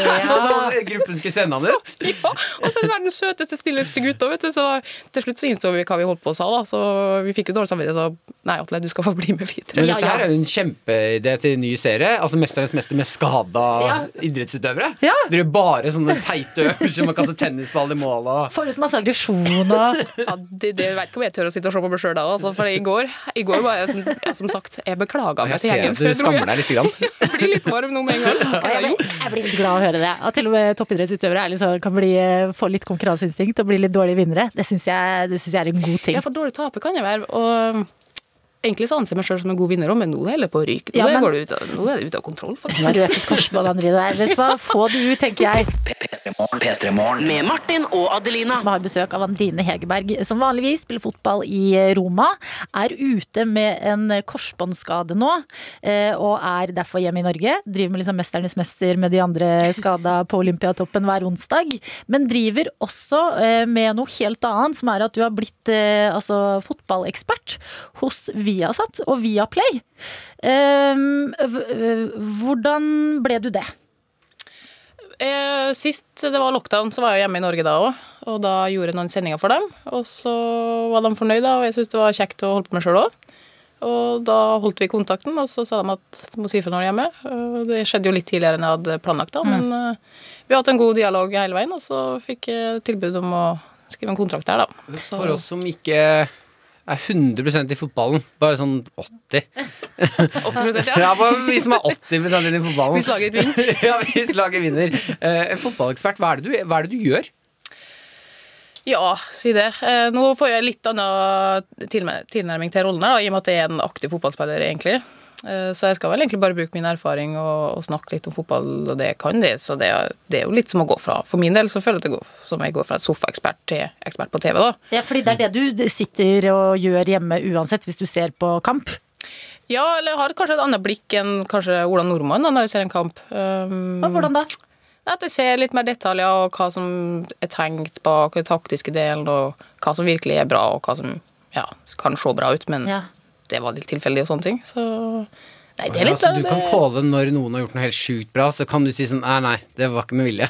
Speaker 3: gruppen skal sende han ut.
Speaker 10: Ja, og så er det verdens søteste, stilleste gutt òg, vet du. Så til slutt så innså vi hva vi holdt på å sa, da. Så vi fikk jo dårlig samvittighet. Så nei, Atle, du skal få bli med videre.
Speaker 3: Men dette her er jo en kjempeidé til en ny serie. Altså Mesterens mester med skada
Speaker 2: Ja.
Speaker 3: idrettsutøvere.
Speaker 2: Ja.
Speaker 3: Dere gjør bare sånne teite øvelser med å kaste tennisball i mål og
Speaker 2: Forut masse aggresjon og
Speaker 10: Ja, det, det jeg vet ikke om jeg tør å sitte og se på meg sjøl da, altså. For i går, i går var jeg som, ja, som sagt Jeg beklaga meg
Speaker 3: Jeg
Speaker 10: til
Speaker 3: ser
Speaker 10: gjengen.
Speaker 3: at du skammer deg litt. Grann.
Speaker 10: Jeg blir litt varm nå med en gang. Hva
Speaker 2: Ja,
Speaker 10: har
Speaker 2: jeg, blir,
Speaker 10: jeg gjort?
Speaker 2: jeg blir litt glad av å høre det. At til og med toppidrettsutøvere er litt sånn- kan bli, få litt konkurranseinstinkt og bli litt dårlige vinnere. Det syns jeg, det synes jeg er en god ting.
Speaker 10: Ja, for dårlig taper kan jeg være. Og egentlig så anser jeg meg sjøl som en god vinner òg, men nå holder jeg på å ryke. Nå,
Speaker 2: Ja, men-
Speaker 10: går det ut av, nå er det ute av kontroll,
Speaker 2: Du har
Speaker 10: faktisk.
Speaker 2: røpet korsbånd, Andrine. Der. Vet du hva? Få det ut, tenker jeg.
Speaker 4: P3morgen. P3morgen.
Speaker 5: Med Martin og Adelina.
Speaker 2: Som har besøk av Andrine Hegerberg, som vanligvis spiller fotball i eh, Roma. Er ute med en korsbåndskade nå, eh, og er derfor hjemme i Norge. Driver med liksom Mesternes mester med de andre skada på Olympiatoppen hver onsdag. Men driver også eh, med noe helt annet, som er at du har blitt eh, altså, fotballekspert hos Viasat og Viaplay. Eh, v- eh, Hvordan ble du det?
Speaker 10: Eh, sist det var lockdown, så var jeg hjemme i Norge da òg. Og da gjorde jeg noen sendinger for dem. Og så var de fornøyd, da, og jeg syntes det var kjekt å holde på med sjøl òg. Og da holdt vi kontakten, og så sa de at du må si ifra når du er hjemme. Og Det skjedde jo litt tidligere enn jeg hadde planlagt, da, men eh, vi har hatt en god dialog hele veien, og så fikk jeg tilbud om å skrive en kontrakt der, da. Så-
Speaker 3: For oss som ikke er 100 i fotballen, bare sånn 80
Speaker 10: 80 ja.
Speaker 3: Ja, bare vi som er 80 inn i fotballen.
Speaker 10: Hvis laget vinner.
Speaker 3: ja, hvis laget vinner. Eh, en fotballekspert, hva er, det du, hva er det du gjør?
Speaker 10: Ja, si det. Eh, Nå får jeg litt annen tilmer- tilnærming til rollen her, da, i og med at jeg er en aktiv fotballspiller, egentlig. Eh, Så jeg skal vel egentlig bare bruke min erfaring og, og snakke litt om fotball og det jeg kan. Det, så det er, det er jo litt som å gå fra For min del så føler jeg at det går som jeg går fra sofaekspert til ekspert på TV, da.
Speaker 2: Ja, fordi det er det du sitter og gjør hjemme uansett, hvis du ser på kamp.
Speaker 10: Ja, eller jeg har kanskje et annet blikk enn kanskje Ola Nordmann da, når jeg ser en kamp. Um,
Speaker 2: Ja, Hvordan da?
Speaker 10: At jeg ser litt mer detaljer og hva som er tenkt bak den taktiske delen, og hva som virkelig er bra, og hva som ja, kan se bra ut, men
Speaker 2: Ja.
Speaker 10: det var litt tilfeldig og sånne ting. Så Nei, det er litt
Speaker 3: altså,
Speaker 10: sånn, eh,
Speaker 3: du
Speaker 10: det-
Speaker 3: kan calle når noen har gjort noe helt sjukt bra, så kan du si sånn Nei, nei, det var ikke med vilje.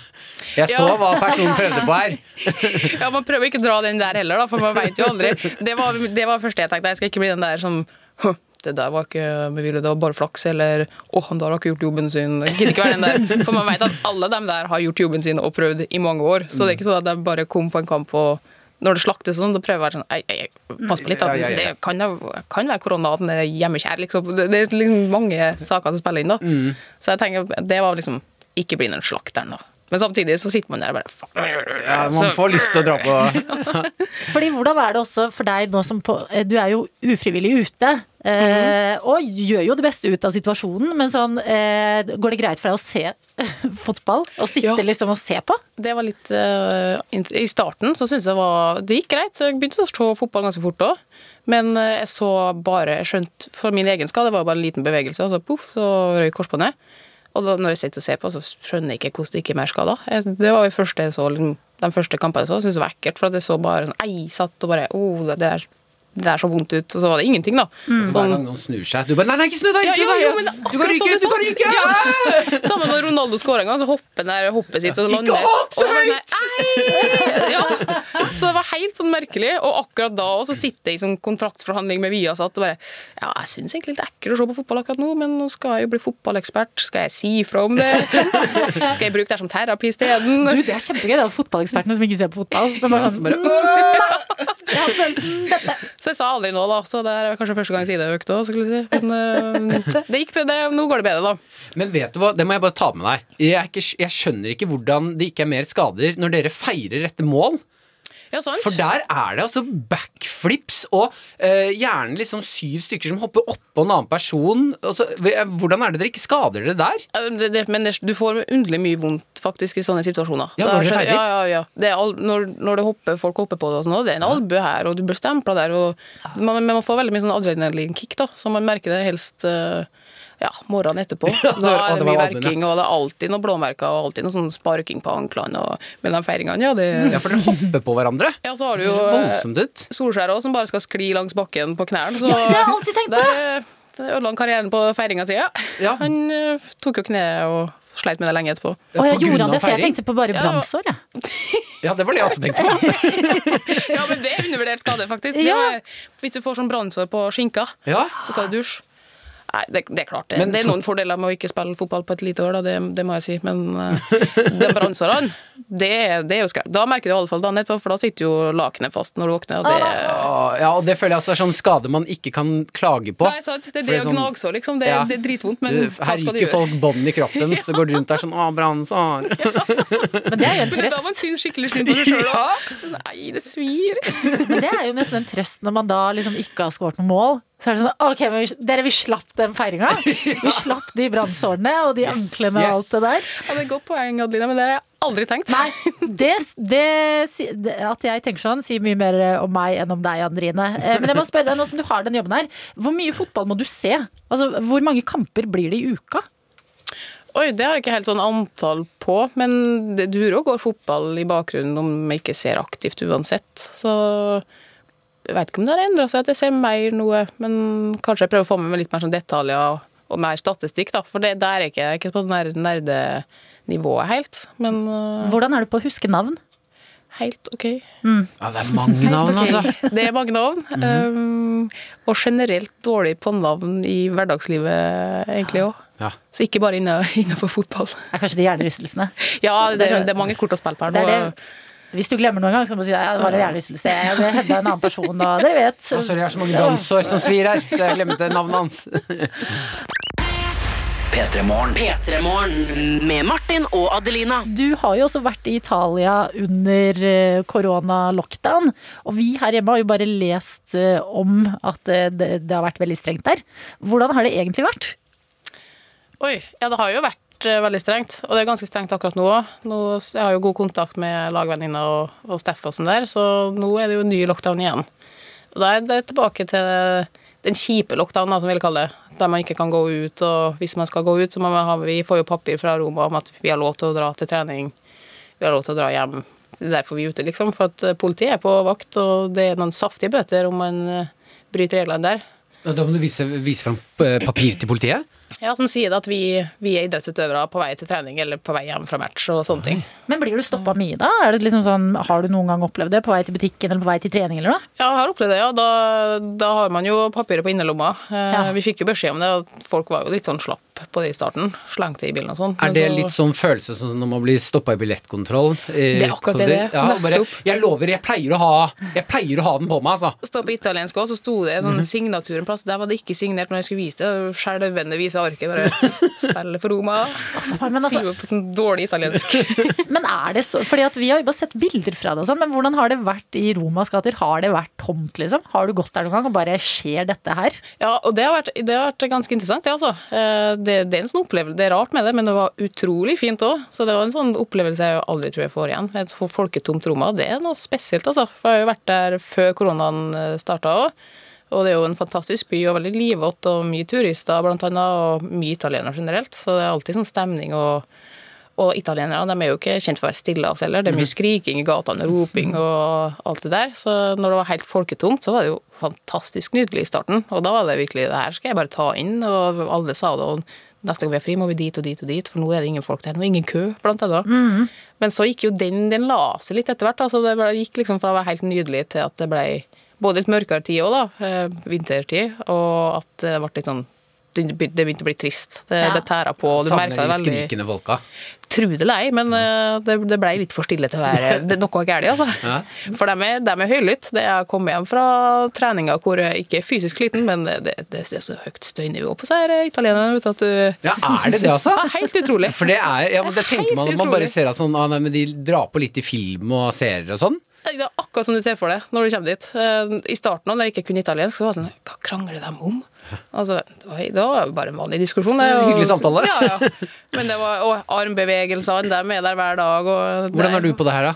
Speaker 3: Jeg så
Speaker 10: Ja.
Speaker 3: hva personen prøvde på her.
Speaker 10: Ja, Man prøver ikke å dra den der heller, da, for man veit jo aldri. Det var det var første jeg tenkte. Jeg skal ikke bli den der som «Hå, det der var ikke med vilje, det var bare flaks, eller å, han der har ikke gjort jobben sin. Jeg gidder ikke være den der. For man veit at alle dem der har gjort jobben sin og prøvd i mange år. Så det er ikke sånn at de bare kom på en kamp og når det slaktes sånn, da prøver jeg å være sånn ei, ei, ei, Pass på litt, da.
Speaker 3: Ja, ja, ja.
Speaker 10: Det kan, jo- kan være korona, den er hjemmekjær, liksom. Det, det er liksom mange saker som spiller inn, da.
Speaker 3: Mm.
Speaker 10: Så jeg tenker, det var liksom Ikke bli den slakteren, da. Men samtidig så sitter man der og bare fuck.
Speaker 3: Ja,
Speaker 10: Eh,
Speaker 3: man får lyst til å dra på
Speaker 2: Fordi hvordan er det også for deg nå som på, eh, Du er jo ufrivillig ute. eh, Og gjør jo det beste ut av situasjonen, men sånn eh, Går det greit for deg å se fotball? Å sitte
Speaker 10: Ja.
Speaker 2: liksom og se på?
Speaker 10: Det var litt eh, int- I starten så syntes jeg var, det gikk greit. Jeg begynte å se fotball ganske fort òg. Men eh, jeg så bare jeg skjønte, For min egen skade var det bare en liten bevegelse, og så poff, så røyk korsbåndet. Og da, når jeg sitter og ser på, så skjønner jeg ikke hvordan det ikke er mer skader. Jeg- Det var jo første jeg så, liksom, de første kampene jeg så, syntes det var ekkelt. For at jeg så bare sånn Ei, satt og bare Å, oh, det der det der så vondt ut. Og så var det ingenting, da.
Speaker 3: Hver
Speaker 10: Sånn-
Speaker 3: gang noen snur seg. Du bare Nei, nei, ikke snu deg! Ikke
Speaker 10: ja,
Speaker 3: snu
Speaker 10: jo,
Speaker 3: deg!
Speaker 10: jo, men det er
Speaker 3: du kan
Speaker 10: akkurat
Speaker 3: ryke
Speaker 10: sånn
Speaker 3: ut! Du kan
Speaker 10: det
Speaker 3: ryke ut!
Speaker 10: er sant. Ja. Samme når Ronaldo skårer en gang, så hopper han der hoppet sitt og
Speaker 3: Ikke
Speaker 10: lander.
Speaker 3: hopp så
Speaker 10: Og han er-
Speaker 3: høyt!
Speaker 10: Ei! Ja. Så det var helt sånn merkelig. Og akkurat da også sitter jeg i sånn kontraktsforhandling med Viasat og bare Ja, jeg syns egentlig det er ekkelt å se på fotball akkurat nå, men nå skal jeg jo bli fotballekspert. Skal jeg si ifra om det? Skal jeg bruke det her som terapi isteden?
Speaker 2: Du, Det er kjempegøy. Det er fotballekspertene som ikke ser på fotball. Men bare sånn, jeg har følelsen dette.
Speaker 10: «Mm». Så jeg sa aldri nå, da. Så det er kanskje første gang siden jeg økte òg, skulle jeg si. Men eh, det gikk, det, nå går det bedre, da.
Speaker 3: Men vet du hva, det må jeg bare ta med deg. Jeg, er ikke, jeg skjønner ikke hvordan det ikke er mer skader når dere feirer etter mål.
Speaker 10: sant.
Speaker 3: For der er det altså backflips og eh, gjerne liksom syv stykker som hopper oppå en annen person. Og så, eh, hvordan er det dere ikke skader dere der?
Speaker 10: Eh, Det, det, men det, du får underlig mye vondt faktisk i sånne situasjoner.
Speaker 3: Ja,
Speaker 10: Da
Speaker 3: når det
Speaker 10: skjønner-
Speaker 3: feiler.
Speaker 10: Ja, ja, ja. Det er al når, når det hopper, folk hopper på det og sånn, og det er en albue her, og du blir stempla der, og man, men man får veldig mye sånn adrenalinkick, da, så man merker det helst eh, ja, morgenen etterpå.
Speaker 3: Ja, det
Speaker 10: Da
Speaker 3: var- å,
Speaker 10: er
Speaker 3: det var
Speaker 10: det mye
Speaker 3: albuen, ja.
Speaker 10: verking, og det er alltid noen blåmerker, og alltid noe sånn sparking på anklene og mellom feiringene. Ja, det
Speaker 3: Ja, for dere hopper på hverandre.
Speaker 10: Ja, så har du
Speaker 3: Det
Speaker 10: jo
Speaker 3: ser
Speaker 10: eh,
Speaker 3: Mm. voldsomt ut.
Speaker 10: Solskjær også, som bare skal skli langs bakken på knærne. Så
Speaker 2: Ja, det har jeg alltid tenkt på.
Speaker 10: Der, eh, det ødela han karrieren på feiringa si. Ja.
Speaker 3: Ja.
Speaker 10: Han eh, tok jo kneet og sleit med det lenge etterpå.
Speaker 2: Og
Speaker 3: På
Speaker 2: jeg
Speaker 3: grunn
Speaker 2: gjorde han
Speaker 3: av
Speaker 2: det, for jeg
Speaker 3: feiring?
Speaker 2: tenkte på bare
Speaker 10: Ja.
Speaker 2: brannsår, jeg.
Speaker 3: Ja, det var det jeg også tenkte på.
Speaker 10: Ja, men det er undervurdert skade, faktisk. Det
Speaker 2: Ja.
Speaker 10: er- hvis du får sånn brannsår på skinka,
Speaker 3: Ja.
Speaker 10: så kan du dusje. Nei, det, det er klart det.
Speaker 3: Men
Speaker 10: det er
Speaker 3: to-
Speaker 10: noen fordeler med å ikke spille fotball på et lite år, da, det, det må jeg si. Men eh, de brannsårene, det, er- det er jo skrevet. Da merker du i alle fall dagen etterpå, for da sitter jo lakenet fast når du våkner. Og det,
Speaker 3: Å, Ja, og det føler jeg altså er sånn skade man ikke kan klage på.
Speaker 10: nei, sant? det er
Speaker 3: For
Speaker 10: det å
Speaker 3: sånn-
Speaker 10: gnage så, liksom. Det,
Speaker 3: Ja.
Speaker 10: det er dritvondt, men
Speaker 3: Du,
Speaker 10: hva
Speaker 3: her
Speaker 10: skal du
Speaker 3: ryker
Speaker 10: gjøre?
Speaker 3: folk bånd i kroppen, så går du rundt der sånn 'Å, brannsår'.
Speaker 2: Men det er jo en
Speaker 10: Men da
Speaker 2: trøst.
Speaker 10: må man synes skikkelig synd på seg sjøl Nei, det svir.
Speaker 2: Men det er jo nesten en trøst når man da liksom ikke har skåret noe mål. Så er det sånn OK, men vi, dere, vi slapp den feiringa. Vi slapp de brannsårene og de anklene og alt det der.
Speaker 10: Ja, det er et godt poeng, Adelina, men det har jeg aldri tenkt.
Speaker 2: Nei, det, det, si- det, at jeg tenker sånn sier mye mer eh, om meg enn om deg, Andrine. Eh, Men jeg må spørre deg, nå som du har den jobben her, hvor mye fotball må du se? Altså, Hvor mange kamper blir det i uka?
Speaker 10: Oi, det har jeg ikke helt sånn antall på, men det durer og går fotball i bakgrunnen om jeg ikke ser aktivt uansett. Så jeg vet ikke om det har endra seg at jeg ser mer noe, men kanskje jeg prøver å få med meg litt mer sånn detaljer og mer statistikk, da. For det, der er jeg ikke, jeg er ikke på sånn her nerdenivået helt, men øh,
Speaker 2: Hvordan er du på å huske navn?
Speaker 10: helt OK.
Speaker 3: Ja, det er mange navn, altså.
Speaker 10: Det er mange navn. øhm, og generelt dårlig på navn i hverdagslivet, egentlig òg.
Speaker 3: Ja.
Speaker 10: Så ikke bare innafor fotball.
Speaker 2: Det er kanskje de hjernerystelsene.
Speaker 10: Ja, det, det er mange kort å spille på her
Speaker 2: Det
Speaker 10: nå.
Speaker 2: er det. Hvis du glemmer noen gang, så kan du si ja, det var en hjernerystelse. Jeg ble hentet av en annen person, og dere vet.
Speaker 3: Å, sorry, jeg har Altså, så mange brannsår som svir her, så jeg glemte navnet hans.
Speaker 4: P3morgen.
Speaker 5: P3morgen med Martin og Adelina.
Speaker 2: Du har jo også vært i Italia under eh, korona-lockdown. Og vi her hjemme har jo bare lest eh, om at eh, det, det har vært veldig strengt der. Hvordan har det egentlig vært?
Speaker 10: Oi, ja, det har jo vært eh, veldig strengt, og det er ganske strengt akkurat nå òg. Jeg har jo god kontakt med lagvenninna og, og Steff og sånn der, så nå er det jo ny lockdown igjen. Og da er det tilbake til den kjipe lockdownen, da, som vi vil kalle det. Der man ikke kan gå ut, og hvis man skal gå ut, så må man ha Vi får jo papir fra Roma om at vi har lov til å dra til trening, vi har lov til å dra hjem. Det er derfor vi er ute, liksom. For at eh, politiet er på vakt, og det er noen saftige bøter om man eh, bryter reglene der.
Speaker 3: Da må du vise, vise fram eh, papir til politiet.
Speaker 10: Ja, som sier det at vi, vi er idrettsutøvere på vei til trening eller på vei hjem fra match og sånne ting.
Speaker 2: Men blir du stoppa mye da? Er det liksom sånn, har du noen gang opplevd det? På vei til butikken eller på vei til trening eller noe?
Speaker 10: Ja, jeg har opplevd det, ja. Da, da har man jo papiret på innerlomma. Eh,
Speaker 2: Ja.
Speaker 10: Vi fikk jo beskjed om det, og folk var jo litt sånn slapp på det i starten. Slengte i bilen og sånn.
Speaker 3: Er
Speaker 10: Men
Speaker 3: det
Speaker 10: så-
Speaker 3: litt sånn følelse som når man blir stoppa i billettkontroll? eh,
Speaker 10: Det er akkurat det det er.
Speaker 3: Ja, og bare,
Speaker 10: Nettopp.
Speaker 3: jeg lover, jeg pleier, å ha, jeg pleier å ha den på meg, altså.
Speaker 10: stå på italiensk også, så sto det en
Speaker 2: Mhm.
Speaker 10: sånn signatur en plass. Der var det ikke signert når jeg skulle vise det. Skjelvende vise arket. Bare spille for Roma.
Speaker 2: faen, men altså-
Speaker 10: Sier jo på sånn dårlig italiensk.
Speaker 2: Men er det så, fordi at Vi har jo bare sett bilder fra det, og sånn, men hvordan har det vært i Romas gater? Har det vært tomt? liksom? Har du gått der noen gang og bare skjer dette her?
Speaker 10: Ja, og det har vært, det har vært ganske interessant, det, altså. Eh, Det, det er en sånn opplevelse, det er rart med det, men det var utrolig fint òg. Så det var en sånn opplevelse jeg aldri tror jeg får igjen. Et fo- folketomt Roma, det er noe spesielt, altså. For jeg har jo vært der før koronaen starta òg. Og det er jo en fantastisk by og veldig livete og mye turister, blant annet, og mye italienere generelt. Så det er alltid sånn stemning og og italienere de er jo ikke kjent for å være stille av seg heller. Det er mye
Speaker 3: Mhm.
Speaker 10: skriking i gatene og roping og alt det der. Så når det var helt folketomt, så var det jo fantastisk nydelig i starten. Og da var det virkelig det her skal jeg bare ta inn. Og alle sa det. Og neste gang vi er fri, må vi dit og dit og dit, for nå er det ingen folk der. Nå er det ingen kø, blant annet.
Speaker 3: Mhm.
Speaker 10: Men så gikk jo den, den la seg litt etter hvert. da. Så det ble, gikk liksom fra å være helt nydelig til at det ble både litt mørkere tid òg, da. eh, Vintertid. Og at det ble litt sånn det begynte å bli trist. Det,
Speaker 2: Ja.
Speaker 10: det tæra på. og Du
Speaker 3: Savner
Speaker 10: merket det
Speaker 3: de
Speaker 10: veldig.
Speaker 3: skrikende folka.
Speaker 10: Tro det eller ei, men eh, det, det blei litt for stille til å være det, er noe galt, altså. For dem er, dem er høylytt. Det Jeg kom hjem fra treninga hvor jeg ikke er fysisk sliten, men det, det, det er så høyt støynivå på seg her italienerne ute at du
Speaker 3: Ja, er det det, altså?
Speaker 10: Ja, Helt utrolig.
Speaker 3: For det er, ja, men det tenker man
Speaker 10: Helt
Speaker 3: når man bare
Speaker 10: utrolig.
Speaker 3: ser at sånn, ah, nei, men de drar på litt i film og serier og sånn.
Speaker 10: Det er akkurat som du ser for deg når du kommer dit. Eh, I starten, når jeg ikke kunne italiensk, så var det sånn Hva krangler de om? Altså, det var- det var bare en vanlig diskusjon. det,
Speaker 3: Det er en
Speaker 10: og-
Speaker 3: hyggelig samtale.
Speaker 10: Ja, ja. Men det var og armbevegelsene, de er der hver dag. Og det-
Speaker 3: Hvordan er du på det her, da?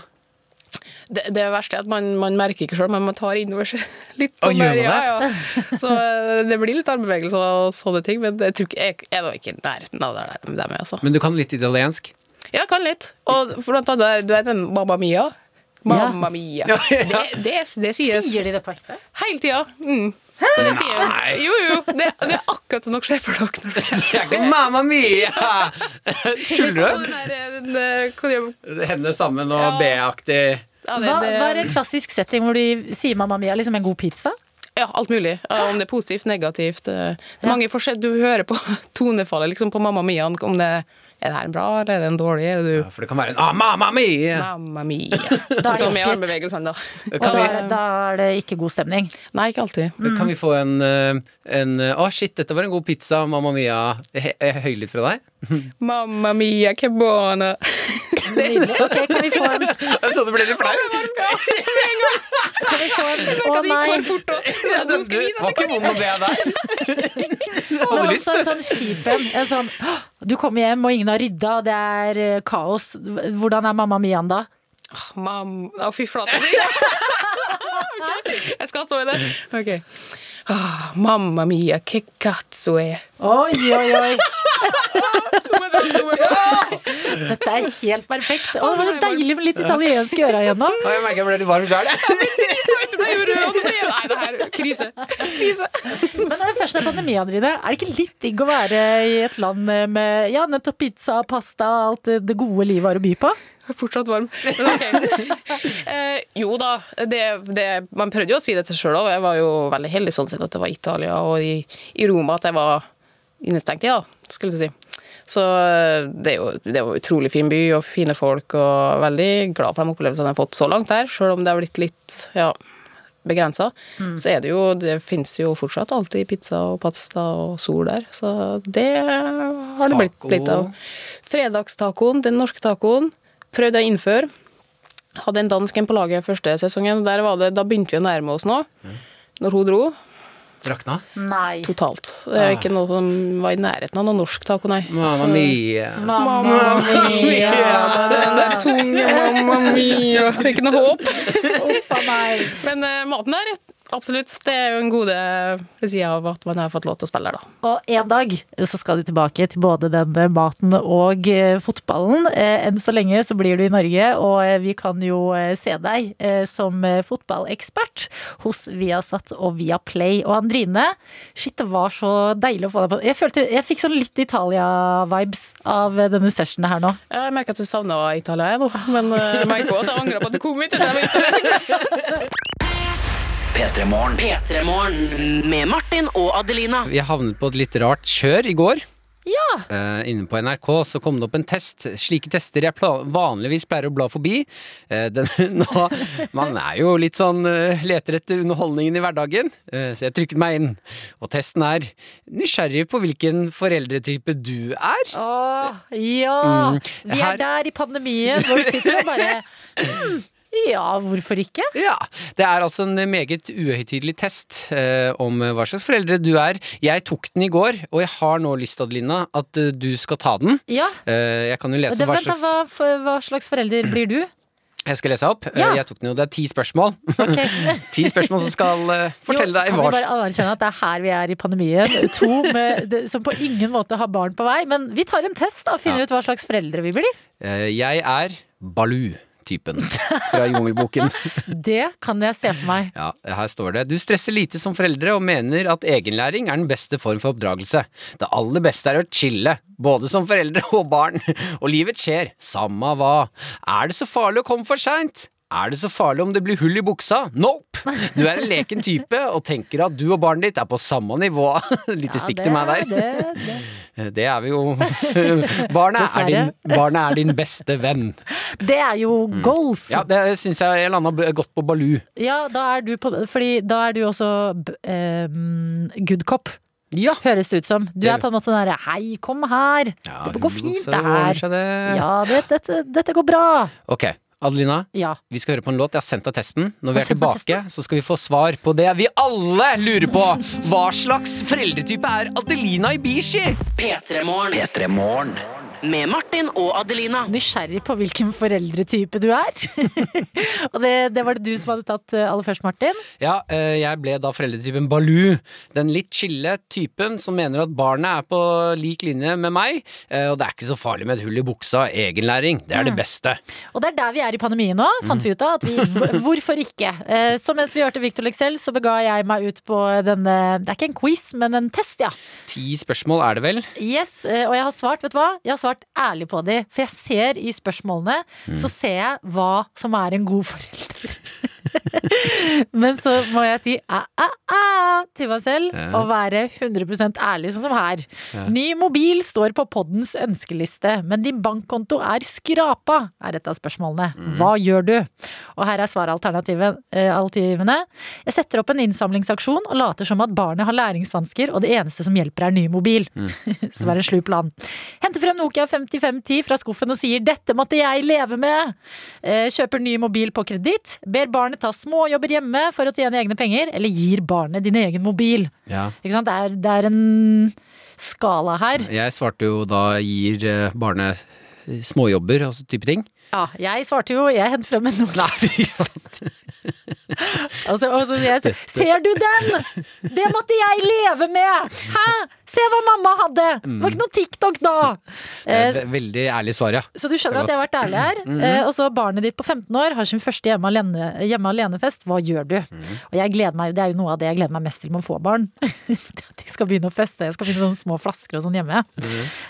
Speaker 10: det, det verste er at man, man merker ikke sjøl, men man tar innover seg litt. sånn
Speaker 3: Å, gjør
Speaker 10: der,
Speaker 3: man
Speaker 10: ja, ja. Så eh, det blir litt armbevegelser og sånne ting, men jeg, tror ikke, jeg er da ikke i nærheten av det der med, altså.
Speaker 3: Men du kan litt italiensk?
Speaker 10: Ja, jeg kan litt. Og for blant annet, der- du vet den Mamma Mia? Mamma Mia.
Speaker 3: Ja, ja.
Speaker 10: Det, det, det sies
Speaker 2: Sier de det på ekte?
Speaker 10: hele tida. Mm. Så det sier
Speaker 3: Nei.
Speaker 10: jo Jo, jo. Det, det er akkurat som dere ser for dere. når dere-
Speaker 3: Det er ikke Mamma mia! Tuller du?
Speaker 10: Den der, eh, den, eh, hva de-
Speaker 3: Henne sammen og
Speaker 10: Ja.
Speaker 3: B-aktig
Speaker 10: ja, det-
Speaker 2: Hva,
Speaker 10: det-
Speaker 2: hva er en klassisk setting hvor de sier 'mamma mia' liksom en god pizza?
Speaker 10: Ja, alt mulig. Ja, Om det er positivt, negativt. eh, Det er mange forskjell. Du hører på tonefallet liksom på Mamma Mia. Om det er det her en bra, eller er det en dårlig? Er det du
Speaker 3: For det kan være en ah, Mamma mia!
Speaker 10: Mamma Mia. Sånn
Speaker 2: Da er det
Speaker 10: Som i
Speaker 2: ikke-
Speaker 10: armbevegelsene, da.
Speaker 2: Og da, er- da er det ikke god stemning.
Speaker 10: Nei, ikke alltid.
Speaker 3: Kan vi få en eh, en, eh, Å, shit, dette var en god pizza, Mamma mia. He- eh, Høylytt fra deg?
Speaker 10: Mamma Mia, che buona.
Speaker 2: Nydelig. Ok, kan vi få en
Speaker 3: Jeg så du ble litt flau.
Speaker 2: Kan vi få en Å
Speaker 10: Det gikk
Speaker 2: nei!
Speaker 10: for fort også.
Speaker 3: Ja,
Speaker 10: Nå
Speaker 3: du,
Speaker 10: skal
Speaker 3: du
Speaker 10: vi vise
Speaker 3: var
Speaker 10: at det
Speaker 3: ikke
Speaker 10: kan-
Speaker 3: vond å be der.
Speaker 2: Men
Speaker 3: Hadde lyst,
Speaker 2: også en sånn kjip en. En sånn «Åh, Du kommer hjem, og ingen har rydda, og det er eh, kaos. Hvordan er mamma miaen da?
Speaker 10: Mam- Å, fy flate. Ok, Jeg skal stå i det. Ok. Ah, mamma mia, che cazzo è?
Speaker 2: Oi, oi, oi!
Speaker 10: Å,
Speaker 2: Dette er helt perfekt. Å, det var litt deilig med litt italiensk i øra igjennom.
Speaker 3: Å, jeg merker jeg ble litt varm sjøl.
Speaker 10: du ble jo rød. du ble- Nei, det her krise. Krise.
Speaker 2: Men når det først er pandemien, Rine, er det ikke litt digg å være i et land med ja, nettopp pizza, pasta, alt det gode livet har å by på?
Speaker 10: Jeg er fortsatt varm. Men ok. eh, jo da, det, det, man prøvde jo å si det til sjøl òg. Jeg var jo veldig heldig sånn sett at det var Italia og i, i Roma at jeg var innestengt i, da, skulle du si. Så eh, det er jo det er jo en utrolig fin by og fine folk, og veldig glad for de opplevelsene jeg har fått så langt der, sjøl om det har blitt litt ja, begrensa. Så er det jo Det fins jo fortsatt alltid pizza og pasta og sol der, så det har det
Speaker 3: Taco.
Speaker 10: blitt litt av. Fredagstacoen, den norske tacoen, prøvde jeg å innføre. Hadde en dansk en på laget første sesongen. Der var det, da begynte vi å nærme oss nå. Når hun dro.
Speaker 3: Rakna.
Speaker 2: Nei.
Speaker 10: Totalt. Det er ikke noe som var i nærheten av noe norsk taco, nei.
Speaker 3: Mamma mia.
Speaker 2: Mamma mia.
Speaker 10: Den der tunge mamma mia. Det er ikke noe håp.
Speaker 2: Uff a meg.
Speaker 10: Men eh, maten der, absolutt. Det er jo en gode ved sida av at man har fått lov til å spille her, da.
Speaker 2: Og en dag så skal du tilbake til både den maten og eh, fotballen. Eh, enn så lenge så blir du i Norge, og eh, vi kan jo eh, se deg eh, som eh, fotballekspert hos Viasat og Viaplay. Og Andrine, shit, det var så deilig å få deg på Jeg, følte, jeg fikk sånn litt Italia-vibes av eh, denne sessionen her nå.
Speaker 10: Jeg merker at jeg savna Italia, jeg nå. Men eh, jeg merker også at jeg angrer på at jeg kom hit. Det var Italia.
Speaker 4: P3morgen.
Speaker 5: P3morgen med Martin og Adelina.
Speaker 3: Vi havnet på et litt rart kjør i går. Eh, inne på NRK så kom det opp en test. Slike tester jeg pla- vanligvis pleier å bla forbi. Eh, den, nå, man er jo litt sånn eh, leter etter underholdningen i hverdagen, eh, så jeg trykket meg inn. Og testen er nysgjerrig på hvilken foreldretype du er.
Speaker 2: Åh, ja!
Speaker 3: Mm,
Speaker 2: Vi
Speaker 3: her-
Speaker 2: er der i pandemien hvor vi sitter og bare hmm, Ja, hvorfor ikke?
Speaker 3: Ja, Det er altså en meget uhøytidelig test eh, om hva slags foreldre du er. Jeg tok den i går, og jeg har nå lyst, Adelina, at eh, du skal ta den.
Speaker 2: Ja.
Speaker 3: Eh, jeg kan jo lese
Speaker 2: Det,
Speaker 3: hva
Speaker 2: vent, da,
Speaker 3: slags
Speaker 2: hva, f- hva slags forelder blir du?
Speaker 3: Jeg skal lese opp.
Speaker 2: Ja.
Speaker 3: Eh, Jeg tok den jo, Det er ti spørsmål.
Speaker 2: Ok.
Speaker 3: ti spørsmål som skal eh, fortelle
Speaker 2: jo,
Speaker 3: deg
Speaker 2: Kan
Speaker 3: hva
Speaker 2: vi bare anerkjenne at det er her vi er i pandemien? To med, det- som på ingen måte har barn på vei. Men vi tar en test da, og finner
Speaker 3: Ja.
Speaker 2: ut hva slags foreldre vi blir.
Speaker 3: Eh, Jeg er Baloo-typen fra Jungelboken.
Speaker 2: Det kan jeg se for meg.
Speaker 3: Ja, her står det. Du stresser lite som foreldre og mener at egenlæring er den beste form for oppdragelse. Det aller beste er å chille, både som foreldre og barn. Og livet skjer, samme hva. Er det så farlig å komme for seint? Er det så farlig om det blir hull i buksa? Nope! Du er en leken type og tenker at du og barnet ditt er på samme nivå. Litt i stikk til meg der.
Speaker 2: Det, det.
Speaker 3: Eh, Det er vi jo. Barnet er,
Speaker 2: Dessverre.
Speaker 3: din, barnet er din beste venn.
Speaker 2: det er jo goals!
Speaker 3: Mm. Ja,
Speaker 2: Ja.
Speaker 3: det syns jeg jeg landa b- godt på Baloo.
Speaker 2: da er du på Fordi da er du også b- ehm, good cop,
Speaker 3: Ja.
Speaker 2: høres det ut som. Du er på en måte den derre hei, kom her, det går fint
Speaker 3: så ordner
Speaker 2: der.
Speaker 3: seg det.
Speaker 2: Ja, det, dette, dette går bra.
Speaker 3: Ok, Adelina,
Speaker 2: Ja.
Speaker 3: vi skal høre på en låt. Jeg har sendt deg testen. Når vi er
Speaker 2: sendt deg
Speaker 3: tilbake, så skal vi få svar på det vi alle lurer på. Hva slags foreldretype er Adelina Ibishi?
Speaker 5: P3morgen. Med Martin og Adelina.
Speaker 2: Nysgjerrig på hvilken foreldretype du er. og det, det var det du som hadde tatt eh, aller først, Martin.
Speaker 3: Ja, eh, jeg ble da foreldretypen Baloo. Den litt chille typen som mener at barnet er på lik linje med meg, eh, og det er ikke så farlig med et hull i buksa. Egenlæring, det er det beste.
Speaker 2: Og det er der vi er i pandemien nå, fant vi ut av. At vi, hvor- hvorfor ikke? Eh, Så mens vi hørte Victor Lexell, så bega jeg meg ut på denne Det er ikke en quiz, men en test, ja.
Speaker 3: Ti spørsmål er det vel?
Speaker 2: Yes, eh, Og jeg har svart, vet du hva? Jeg har svart ærlig på de. For jeg ser i spørsmålene,
Speaker 11: Mm.
Speaker 2: så ser jeg hva som er en god forelder. men så må jeg si æ, æ, æ til meg selv
Speaker 11: Ja.
Speaker 2: og være 100 ærlig, sånn som her.
Speaker 11: Ja.
Speaker 2: Ny mobil står på poddens ønskeliste, men din bankkonto er skrapa, er et av spørsmålene.
Speaker 11: Mm.
Speaker 2: Hva gjør du? Og her er svaralternativene. Jeg setter opp en innsamlingsaksjon og later som at barnet har læringsvansker, og det eneste som hjelper er ny mobil. som er en slu plan. Henter frem Nokia 5510 fra skuffen og sier 'dette måtte jeg leve med'. Eh, Kjøper ny mobil på kreditt. Ber barnet ta småjobber hjemme for å tjene egne penger, eller gir barnet din egen mobil.
Speaker 3: Ja.
Speaker 2: Ikke sant? Det er, det er en skala her.
Speaker 3: Jeg svarte jo da gir eh, barnet eh, småjobber og sånn type ting.
Speaker 2: Ja, jeg svarte jo Jeg henter frem en Nokia. altså, og så sier jeg Ser du den?! Det måtte jeg leve med! Hæ? Se hva mamma hadde! Det var ikke noe TikTok da! Eh,
Speaker 3: Det er et veldig ærlig svar, ja.
Speaker 2: Så du skjønner at
Speaker 3: Det
Speaker 2: jeg
Speaker 3: er
Speaker 2: har
Speaker 3: godt.
Speaker 2: vært ærlig her.
Speaker 3: Mhm.
Speaker 2: Eh, Og så barnet ditt på 15 år har sin første hjemme alene- hjemme alene-fest. Hva gjør du? Og jeg gleder meg, det er jo noe av det jeg gleder meg mest til med å få barn. At de skal begynne å feste. Jeg skal finne sånne små flasker og sånn hjemme.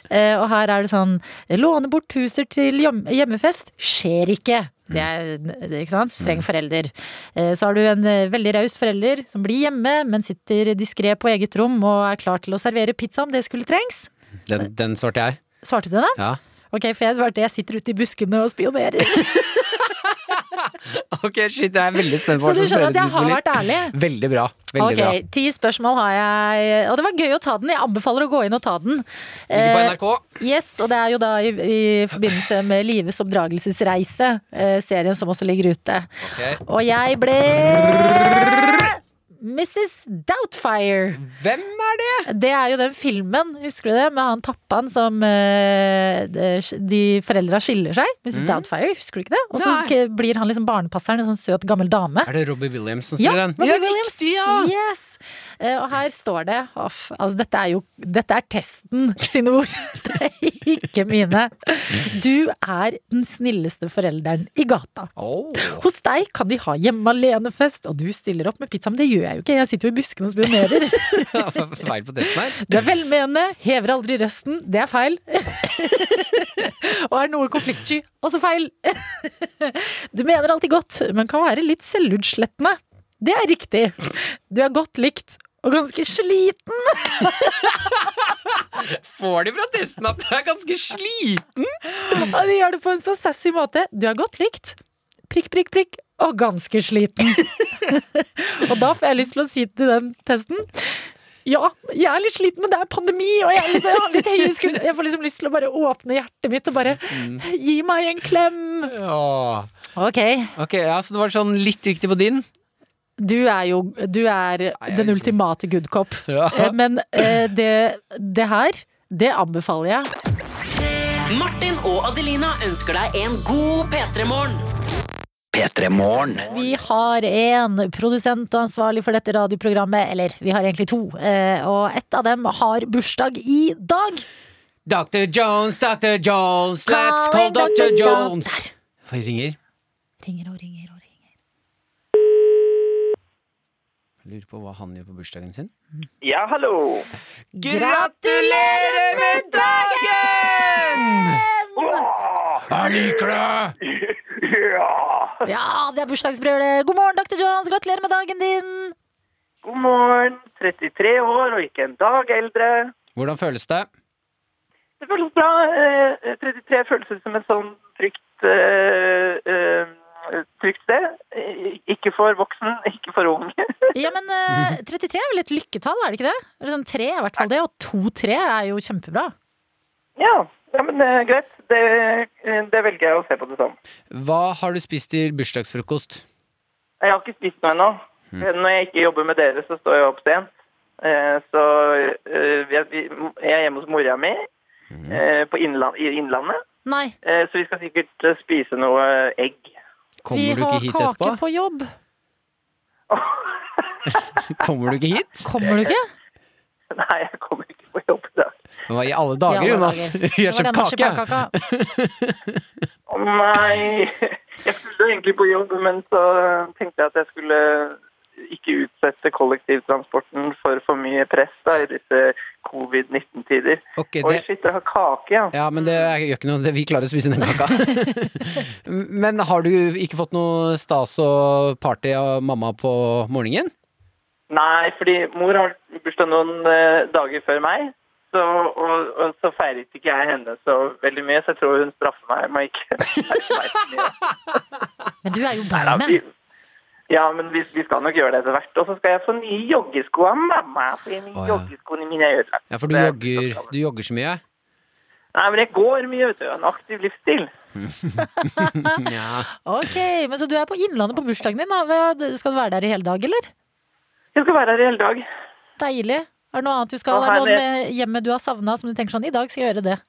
Speaker 2: Eh, Og her er det sånn Låne bort huser til hjem- hjemmefest skjer ikke. Det er, det er, ikke sant? Streng forelder. Eh, Så har du en eh, veldig raus forelder som blir hjemme, men sitter diskré på eget rom og er klar til å servere pizza om det skulle trengs.
Speaker 3: Den, den svarte jeg.
Speaker 2: Svarte du den?
Speaker 3: Ja.
Speaker 2: Ok, for jeg svarte jeg sitter ute i buskene og spionerer.
Speaker 3: Ok, shit, jeg er veldig spent på
Speaker 2: Så du
Speaker 3: som
Speaker 2: skjønner at jeg har
Speaker 3: foreldretype
Speaker 2: vært
Speaker 3: blir.
Speaker 2: ærlig?
Speaker 3: Veldig bra. Veldig
Speaker 2: ok, ti spørsmål har jeg, og det var gøy å ta den. Jeg anbefaler å gå inn og ta den.
Speaker 3: Ligger på
Speaker 2: Eh, Yes, og det er jo da i, i forbindelse med Lives oppdragelsesreise, eh, serien som også ligger ute.
Speaker 3: Ok.
Speaker 2: Og jeg ble Mrs. Doubtfire.
Speaker 3: Hvem er det?
Speaker 2: Det er jo den filmen, husker du det? Med han pappaen som eh, det- De foreldra skiller seg. Mrs.
Speaker 3: Mm.
Speaker 2: Doubtfire, husker du ikke det? Og så sk- blir han liksom barnepasseren, en sånn søt gammel dame.
Speaker 3: bra. Er det Robbie Williams som spiller den?
Speaker 2: Robbie Williams. Yes. Eh, og her står det Off, altså Dette er jo Dette er testen sine ord. Det er ikke mine. Du er den snilleste forelderen i gata. Hos deg kan de ha hjemme alene-fest, og du stiller opp med pizza. Men det gjør jeg jo ikke, jeg sitter jo i buskene og spionerer.
Speaker 3: Feil på testen her.
Speaker 2: Du er velmenende, hever aldri røsten. Det er feil. og er noe konfliktsky. Også feil. du mener alltid godt, men kan være litt selvutslettende. Det er riktig. Du er godt likt. Og ganske sliten!
Speaker 3: Får de fra testen at du er ganske sliten?
Speaker 2: Og de gjør det på en så sassy måte. Du er godt likt. Prikk, prikk, prikk. Og ganske sliten. og da får jeg lyst til å si til den testen ja, jeg er litt sliten, men det er pandemi, og jeg, er litt, jeg har litt høye skuldre. Jeg får liksom lyst til å bare åpne hjertet mitt og bare Gi meg en klem!
Speaker 3: Ja.
Speaker 2: Ok.
Speaker 3: Ok, ja, Så det var sånn litt riktig på din?
Speaker 2: Du er jo du er den ultimate good cop.
Speaker 3: Ja.
Speaker 2: Eh, Men eh, det, det her, det anbefaler jeg.
Speaker 5: Martin og Adelina ønsker deg en god P3morgen.
Speaker 2: Vi har en produsent og ansvarlig for dette radioprogrammet, eller vi har egentlig to, eh, og ett av dem har bursdag i dag.
Speaker 3: Dr. Jones, Dr. Jones, let's call
Speaker 2: Calling
Speaker 3: Dr.
Speaker 2: Dr.
Speaker 3: Jones!
Speaker 2: Der.
Speaker 3: Vi ringer.
Speaker 2: Ringer og ringer og ringer.
Speaker 3: Jeg Lurer på hva han gjør på bursdagen sin.
Speaker 12: Ja, hallo.
Speaker 3: Gratulerer med
Speaker 2: dagen!
Speaker 3: Jeg liker det!
Speaker 2: Ja, det er bursdagsbrølet. God morgen, Dr. Jones. Gratulerer med dagen din.
Speaker 12: God morgen. 33 år og ikke en dag eldre.
Speaker 3: Hvordan føles det?
Speaker 12: Det føles bra. Eh, 33 føles ut som et sånn trygt, eh, eh, trygt sted. Eh, Ikke for voksen, ikke for ung.
Speaker 2: Ja, men eh, 33 er vel et lykketall, er det ikke det? Eller sånn tre er i hvert fall det, og to-tre er jo kjempebra.
Speaker 12: Ja, ja men eh, greit.
Speaker 10: det, det velger jeg å se på det som.
Speaker 3: Hva har du spist til bursdagsfrokost?
Speaker 10: Jeg har ikke spist noe ennå.
Speaker 3: Mm.
Speaker 10: Eh, Når jeg ikke jobber med dere, så står jeg opp sent. Eh, Så eh, jeg vi- jeg er hjemme hos mora mi eh, på innland, i Innlandet.
Speaker 2: Nei.
Speaker 10: Eh, Så vi skal sikkert eh, spise noe egg.
Speaker 2: Vi har kake på jobb.
Speaker 3: Kommer du ikke hit?
Speaker 2: Kommer du ikke?
Speaker 10: Nei, jeg kommer ikke på jobb i dag.
Speaker 3: Hva i alle dager,
Speaker 10: I alle
Speaker 3: Jonas?
Speaker 10: dager.
Speaker 3: Vi har
Speaker 10: Det var
Speaker 3: kjøpt
Speaker 10: den
Speaker 3: kake!
Speaker 2: marsipankaka.
Speaker 10: Å nei! Jeg skulle egentlig på jobb, men så tenkte jeg at jeg skulle ikke utsette kollektivtransporten for for mye press da, i disse covid-19-tider.
Speaker 3: Ok,
Speaker 10: Oi,
Speaker 3: det-
Speaker 10: shit, dere har kake, ja.
Speaker 3: Ja, men det er- gjør ikke noe. det- Vi klarer å spise den kaka. men har du ikke fått noe stas og party av mamma på morgenen?
Speaker 10: Nei, fordi mor har bursdag noen eh, dager før meg, så, og, og så feiret ikke jeg henne så veldig mye, så jeg tror hun straffer meg med ikke
Speaker 2: Men du er jo
Speaker 10: Ja,
Speaker 2: barnet.
Speaker 10: vi, ja, men vi, vi skal nok gjøre det etter hvert. Og så skal jeg få nye joggesko av mamma. Fordi mine
Speaker 3: Å, ja.
Speaker 10: joggeskoene mine er ødelagt.
Speaker 3: Ja, for du
Speaker 10: Det-
Speaker 3: jogger, du jogger så mye?
Speaker 10: Nei, men jeg går mye, vet du. En aktiv livsstil.
Speaker 3: ja.
Speaker 2: Ok, men Så du er på Innlandet på bursdagen din. da. Hva- Skal du være der i hele dag, eller?
Speaker 10: Jeg skal være her i hele dag.
Speaker 2: Deilig. Er det noe annet du skal,
Speaker 10: Og
Speaker 2: er det
Speaker 10: her
Speaker 2: noen
Speaker 10: nede.
Speaker 2: eh, hjemme du har savna, som du tenker sånn I dag skal jeg gjøre det.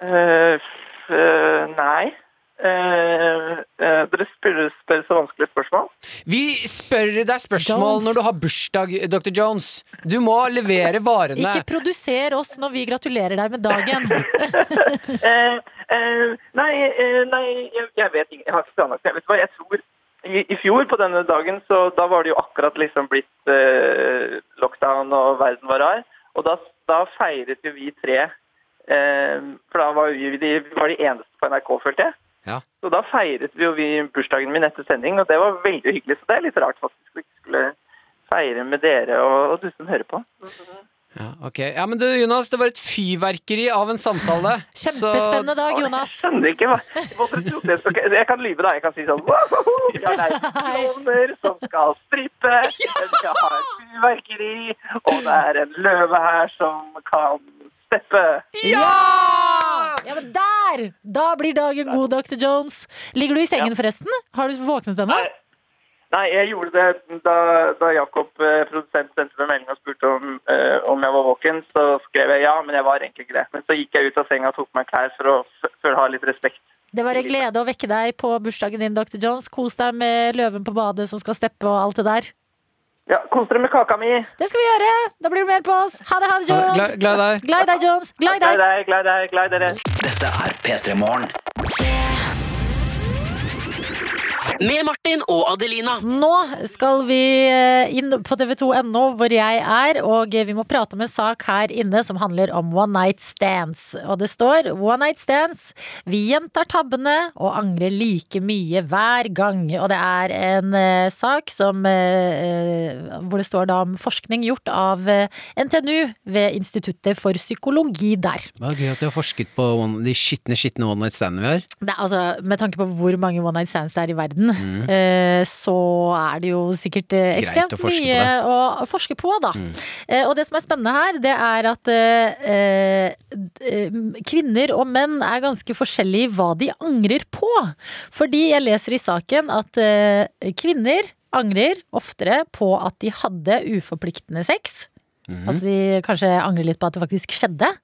Speaker 10: Eh, f- eh, nei. Eh, eh, dere spør, spør så vanskelige spørsmål.
Speaker 3: Vi spør deg spørsmål
Speaker 2: Jones.
Speaker 3: når du har bursdag, Dr. Jones. Du må levere varene.
Speaker 2: Ikke produser oss når vi gratulerer deg med dagen.
Speaker 10: Eh, eh, nei, eh, nei jeg, jeg vet ikke. Jeg har ikke planlagt det. Vet du hva, jeg tror i, I fjor på denne dagen, så da var det jo akkurat liksom blitt eh, lockdown og verden var rar. Og da, da feiret jo vi tre eh, For da var vi de, vi var de eneste på NRK, følte jeg.
Speaker 3: Ja.
Speaker 10: Så da feiret vi jo vi bursdagen min etter sending, og det var veldig hyggelig. Så det er litt rart faktisk at vi ikke skulle feire med dere og, og du som hører på.
Speaker 3: Ja, ok. ja, men du Jonas, det var et fyrverkeri av en samtale.
Speaker 2: Kjempespennende
Speaker 3: Så-
Speaker 2: dag, Jonas.
Speaker 10: Jeg skjønner ikke hva hva dere trodde jeg skulle Jeg kan lyve, da. Jeg kan si sånn «Wohoho, Vi har leid kroner som skal strippe. Den skal ha et fyrverkeri. Og det er en løve her som kan steppe.
Speaker 2: Ja! ja! Men der! Da blir dagen god, Dr. Jones. Ligger du i sengen, forresten? Har du våknet ennå?
Speaker 10: Nei, jeg gjorde det da, da Jakob, eh, produsent, sendte meg melding og spurte om, eh, om jeg var våken. Så skrev jeg ja, men jeg var egentlig ikke det. Men så gikk jeg ut av senga og tok meg klær for å, for å ha litt respekt.
Speaker 2: Det var en glede å vekke deg på bursdagen din, Dr. Jones. Kos deg med løven på badet som skal steppe og alt det der.
Speaker 10: Ja, Kos dere med kaka mi.
Speaker 2: Det skal vi gjøre! Da blir det mer på oss. Ha det, ha det, Jones.
Speaker 10: Glad- glad i deg.
Speaker 2: Glad i deg, Jones. Glad i deg.
Speaker 10: Glad i deg, glad i deg, glad i dere.
Speaker 13: Dette er P3 Morgen.
Speaker 5: Med Martin og Adelina.
Speaker 2: Nå skal vi eh, inn på tv2.no, hvor jeg er, og vi må prate om en sak her inne som handler om one night stands. Og det står one night stands, vi gjentar tabbene og angrer like mye hver gang. Og det er en eh, sak som, eh, eh, hvor det står da om forskning gjort av eh, NTNU ved Instituttet for psykologi der.
Speaker 3: Det var gøy at du har forsket på one, de skitne, skitne one night standene vi har.
Speaker 2: Det, er altså, med tanke på hvor mange one night stands det er i verden,
Speaker 3: Mm.
Speaker 2: eh, så er det jo sikkert eh,
Speaker 3: Greit
Speaker 2: ekstremt
Speaker 3: å forske på
Speaker 2: mye
Speaker 3: det.
Speaker 2: å forske på, da.
Speaker 3: Mm.
Speaker 2: Eh, og det som er spennende her, det er at eh, eh, d- eh, kvinner og menn er ganske forskjellige i hva de angrer på. Fordi jeg leser i saken at eh, kvinner angrer oftere på at de hadde uforpliktende sex.
Speaker 3: Mhm.
Speaker 2: Altså de kanskje angrer litt på at det faktisk skjedde.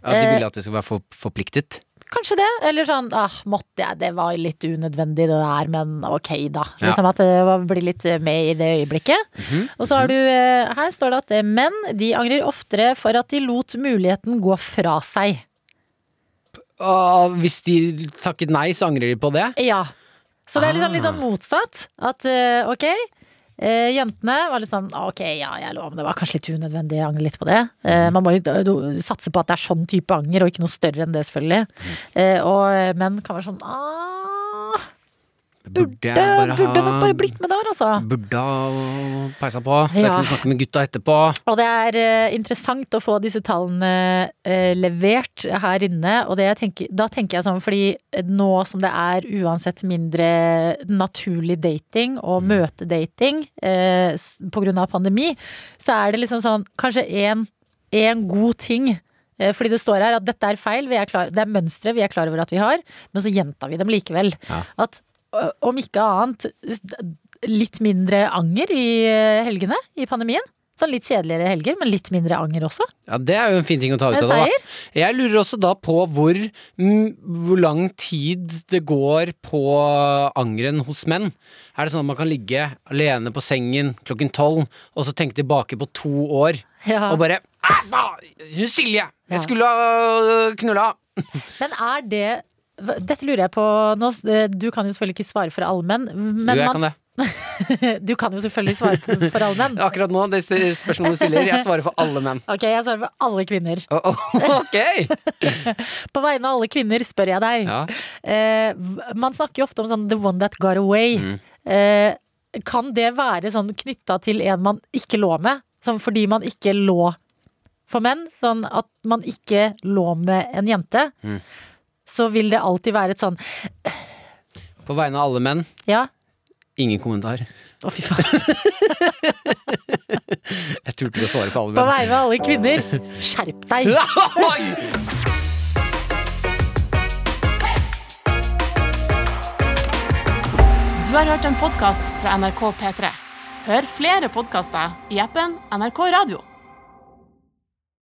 Speaker 3: Ja, de
Speaker 2: Eh,
Speaker 3: ville at du skulle være for, forpliktet.
Speaker 2: Kanskje det. Eller sånn ah, måtte jeg, det var litt unødvendig det der, men ok da.
Speaker 3: Ja. Mhm.
Speaker 2: Liksom at det var- blir litt eh, med i det øyeblikket. Og så har du, eh, her står det at eh, menn de angrer oftere for at de lot muligheten gå fra seg.
Speaker 3: Og hvis de takket nei, så angrer de på det?
Speaker 2: Ja. Så det er liksom litt
Speaker 3: Ah.
Speaker 2: sånn motsatt. At eh, ok, eh, jentene var litt sånn ok, ja, jeg lov, men det var kanskje litt unødvendig, jeg angrer litt på det. Eh,
Speaker 3: Mhm.
Speaker 2: man må jo da- do- satse på at det er sånn type anger, og ikke noe større enn det, selvfølgelig.
Speaker 3: Mhm.
Speaker 2: Eh, og eh, menn kan være sånn ah,
Speaker 3: Burde jeg
Speaker 2: burde,
Speaker 3: bare
Speaker 2: burde nok
Speaker 3: ha
Speaker 2: bare blitt med der, altså.
Speaker 3: Burde ha peisa på, så jeg
Speaker 2: Ja.
Speaker 3: kunne snakke med gutta etterpå.
Speaker 2: Og det er eh, interessant å få disse tallene eh, levert her inne. Og det jeg tenker, da tenker jeg sånn, fordi nå som det er uansett mindre naturlig dating
Speaker 3: Mm.
Speaker 2: og møtedating eh, s- på grunn av pandemi, så er det liksom sånn kanskje en, en god ting eh, Eh, Fordi det står her at dette er feil, vi er klar, det er mønstre vi er klar over at vi har, men så gjentar vi dem likevel. At ø, om ikke annet s- d- litt mindre anger i eh, helgene i pandemien. Sånn litt kjedeligere helger, men litt mindre anger også.
Speaker 3: Ja, Det er jo en fin ting å ta ut
Speaker 2: En
Speaker 3: av det. da.
Speaker 2: seier.
Speaker 3: Jeg lurer også da på hvor, mm, hvor lang tid det går på angeren hos menn. Er det sånn at man kan ligge alene på sengen klokken tolv og så tenke tilbake på to år
Speaker 2: Ja.
Speaker 3: og bare Æ, faen! Silje! Jeg skulle ha knulla!
Speaker 2: Men er det hva- Dette lurer jeg på nå. s- eh, Du kan jo selvfølgelig ikke svare for alle menn. Men
Speaker 3: jo, jeg
Speaker 2: man-
Speaker 3: kan det.
Speaker 2: du kan jo selvfølgelig svare for, for alle menn.
Speaker 3: Akkurat nå, det st- spørsmålet du stiller, jeg svarer for alle menn.
Speaker 2: Ok, jeg svarer for alle kvinner.
Speaker 3: ok!
Speaker 2: På vegne av alle kvinner spør jeg deg.
Speaker 3: Ja.
Speaker 2: Eh, v- man snakker jo ofte om sånn 'the one that got away'.
Speaker 3: Mm.
Speaker 2: Eh, kan det være sånn knytta til en man ikke lå med? Sånn fordi man ikke lå for menn? Sånn at man ikke lå med en jente?
Speaker 3: Mm.
Speaker 2: Så vil det alltid være et sånn
Speaker 3: På vegne av alle menn,
Speaker 2: Ja,
Speaker 3: ingen kommentar.
Speaker 2: Å, fy faen.
Speaker 3: Jeg turte ikke å svare for alle
Speaker 2: på
Speaker 3: menn.
Speaker 2: vegne av alle kvinner, skjerp deg!
Speaker 1: Du har hørt en podkast fra NRK P3. Hør flere podkaster i appen NRK Radio.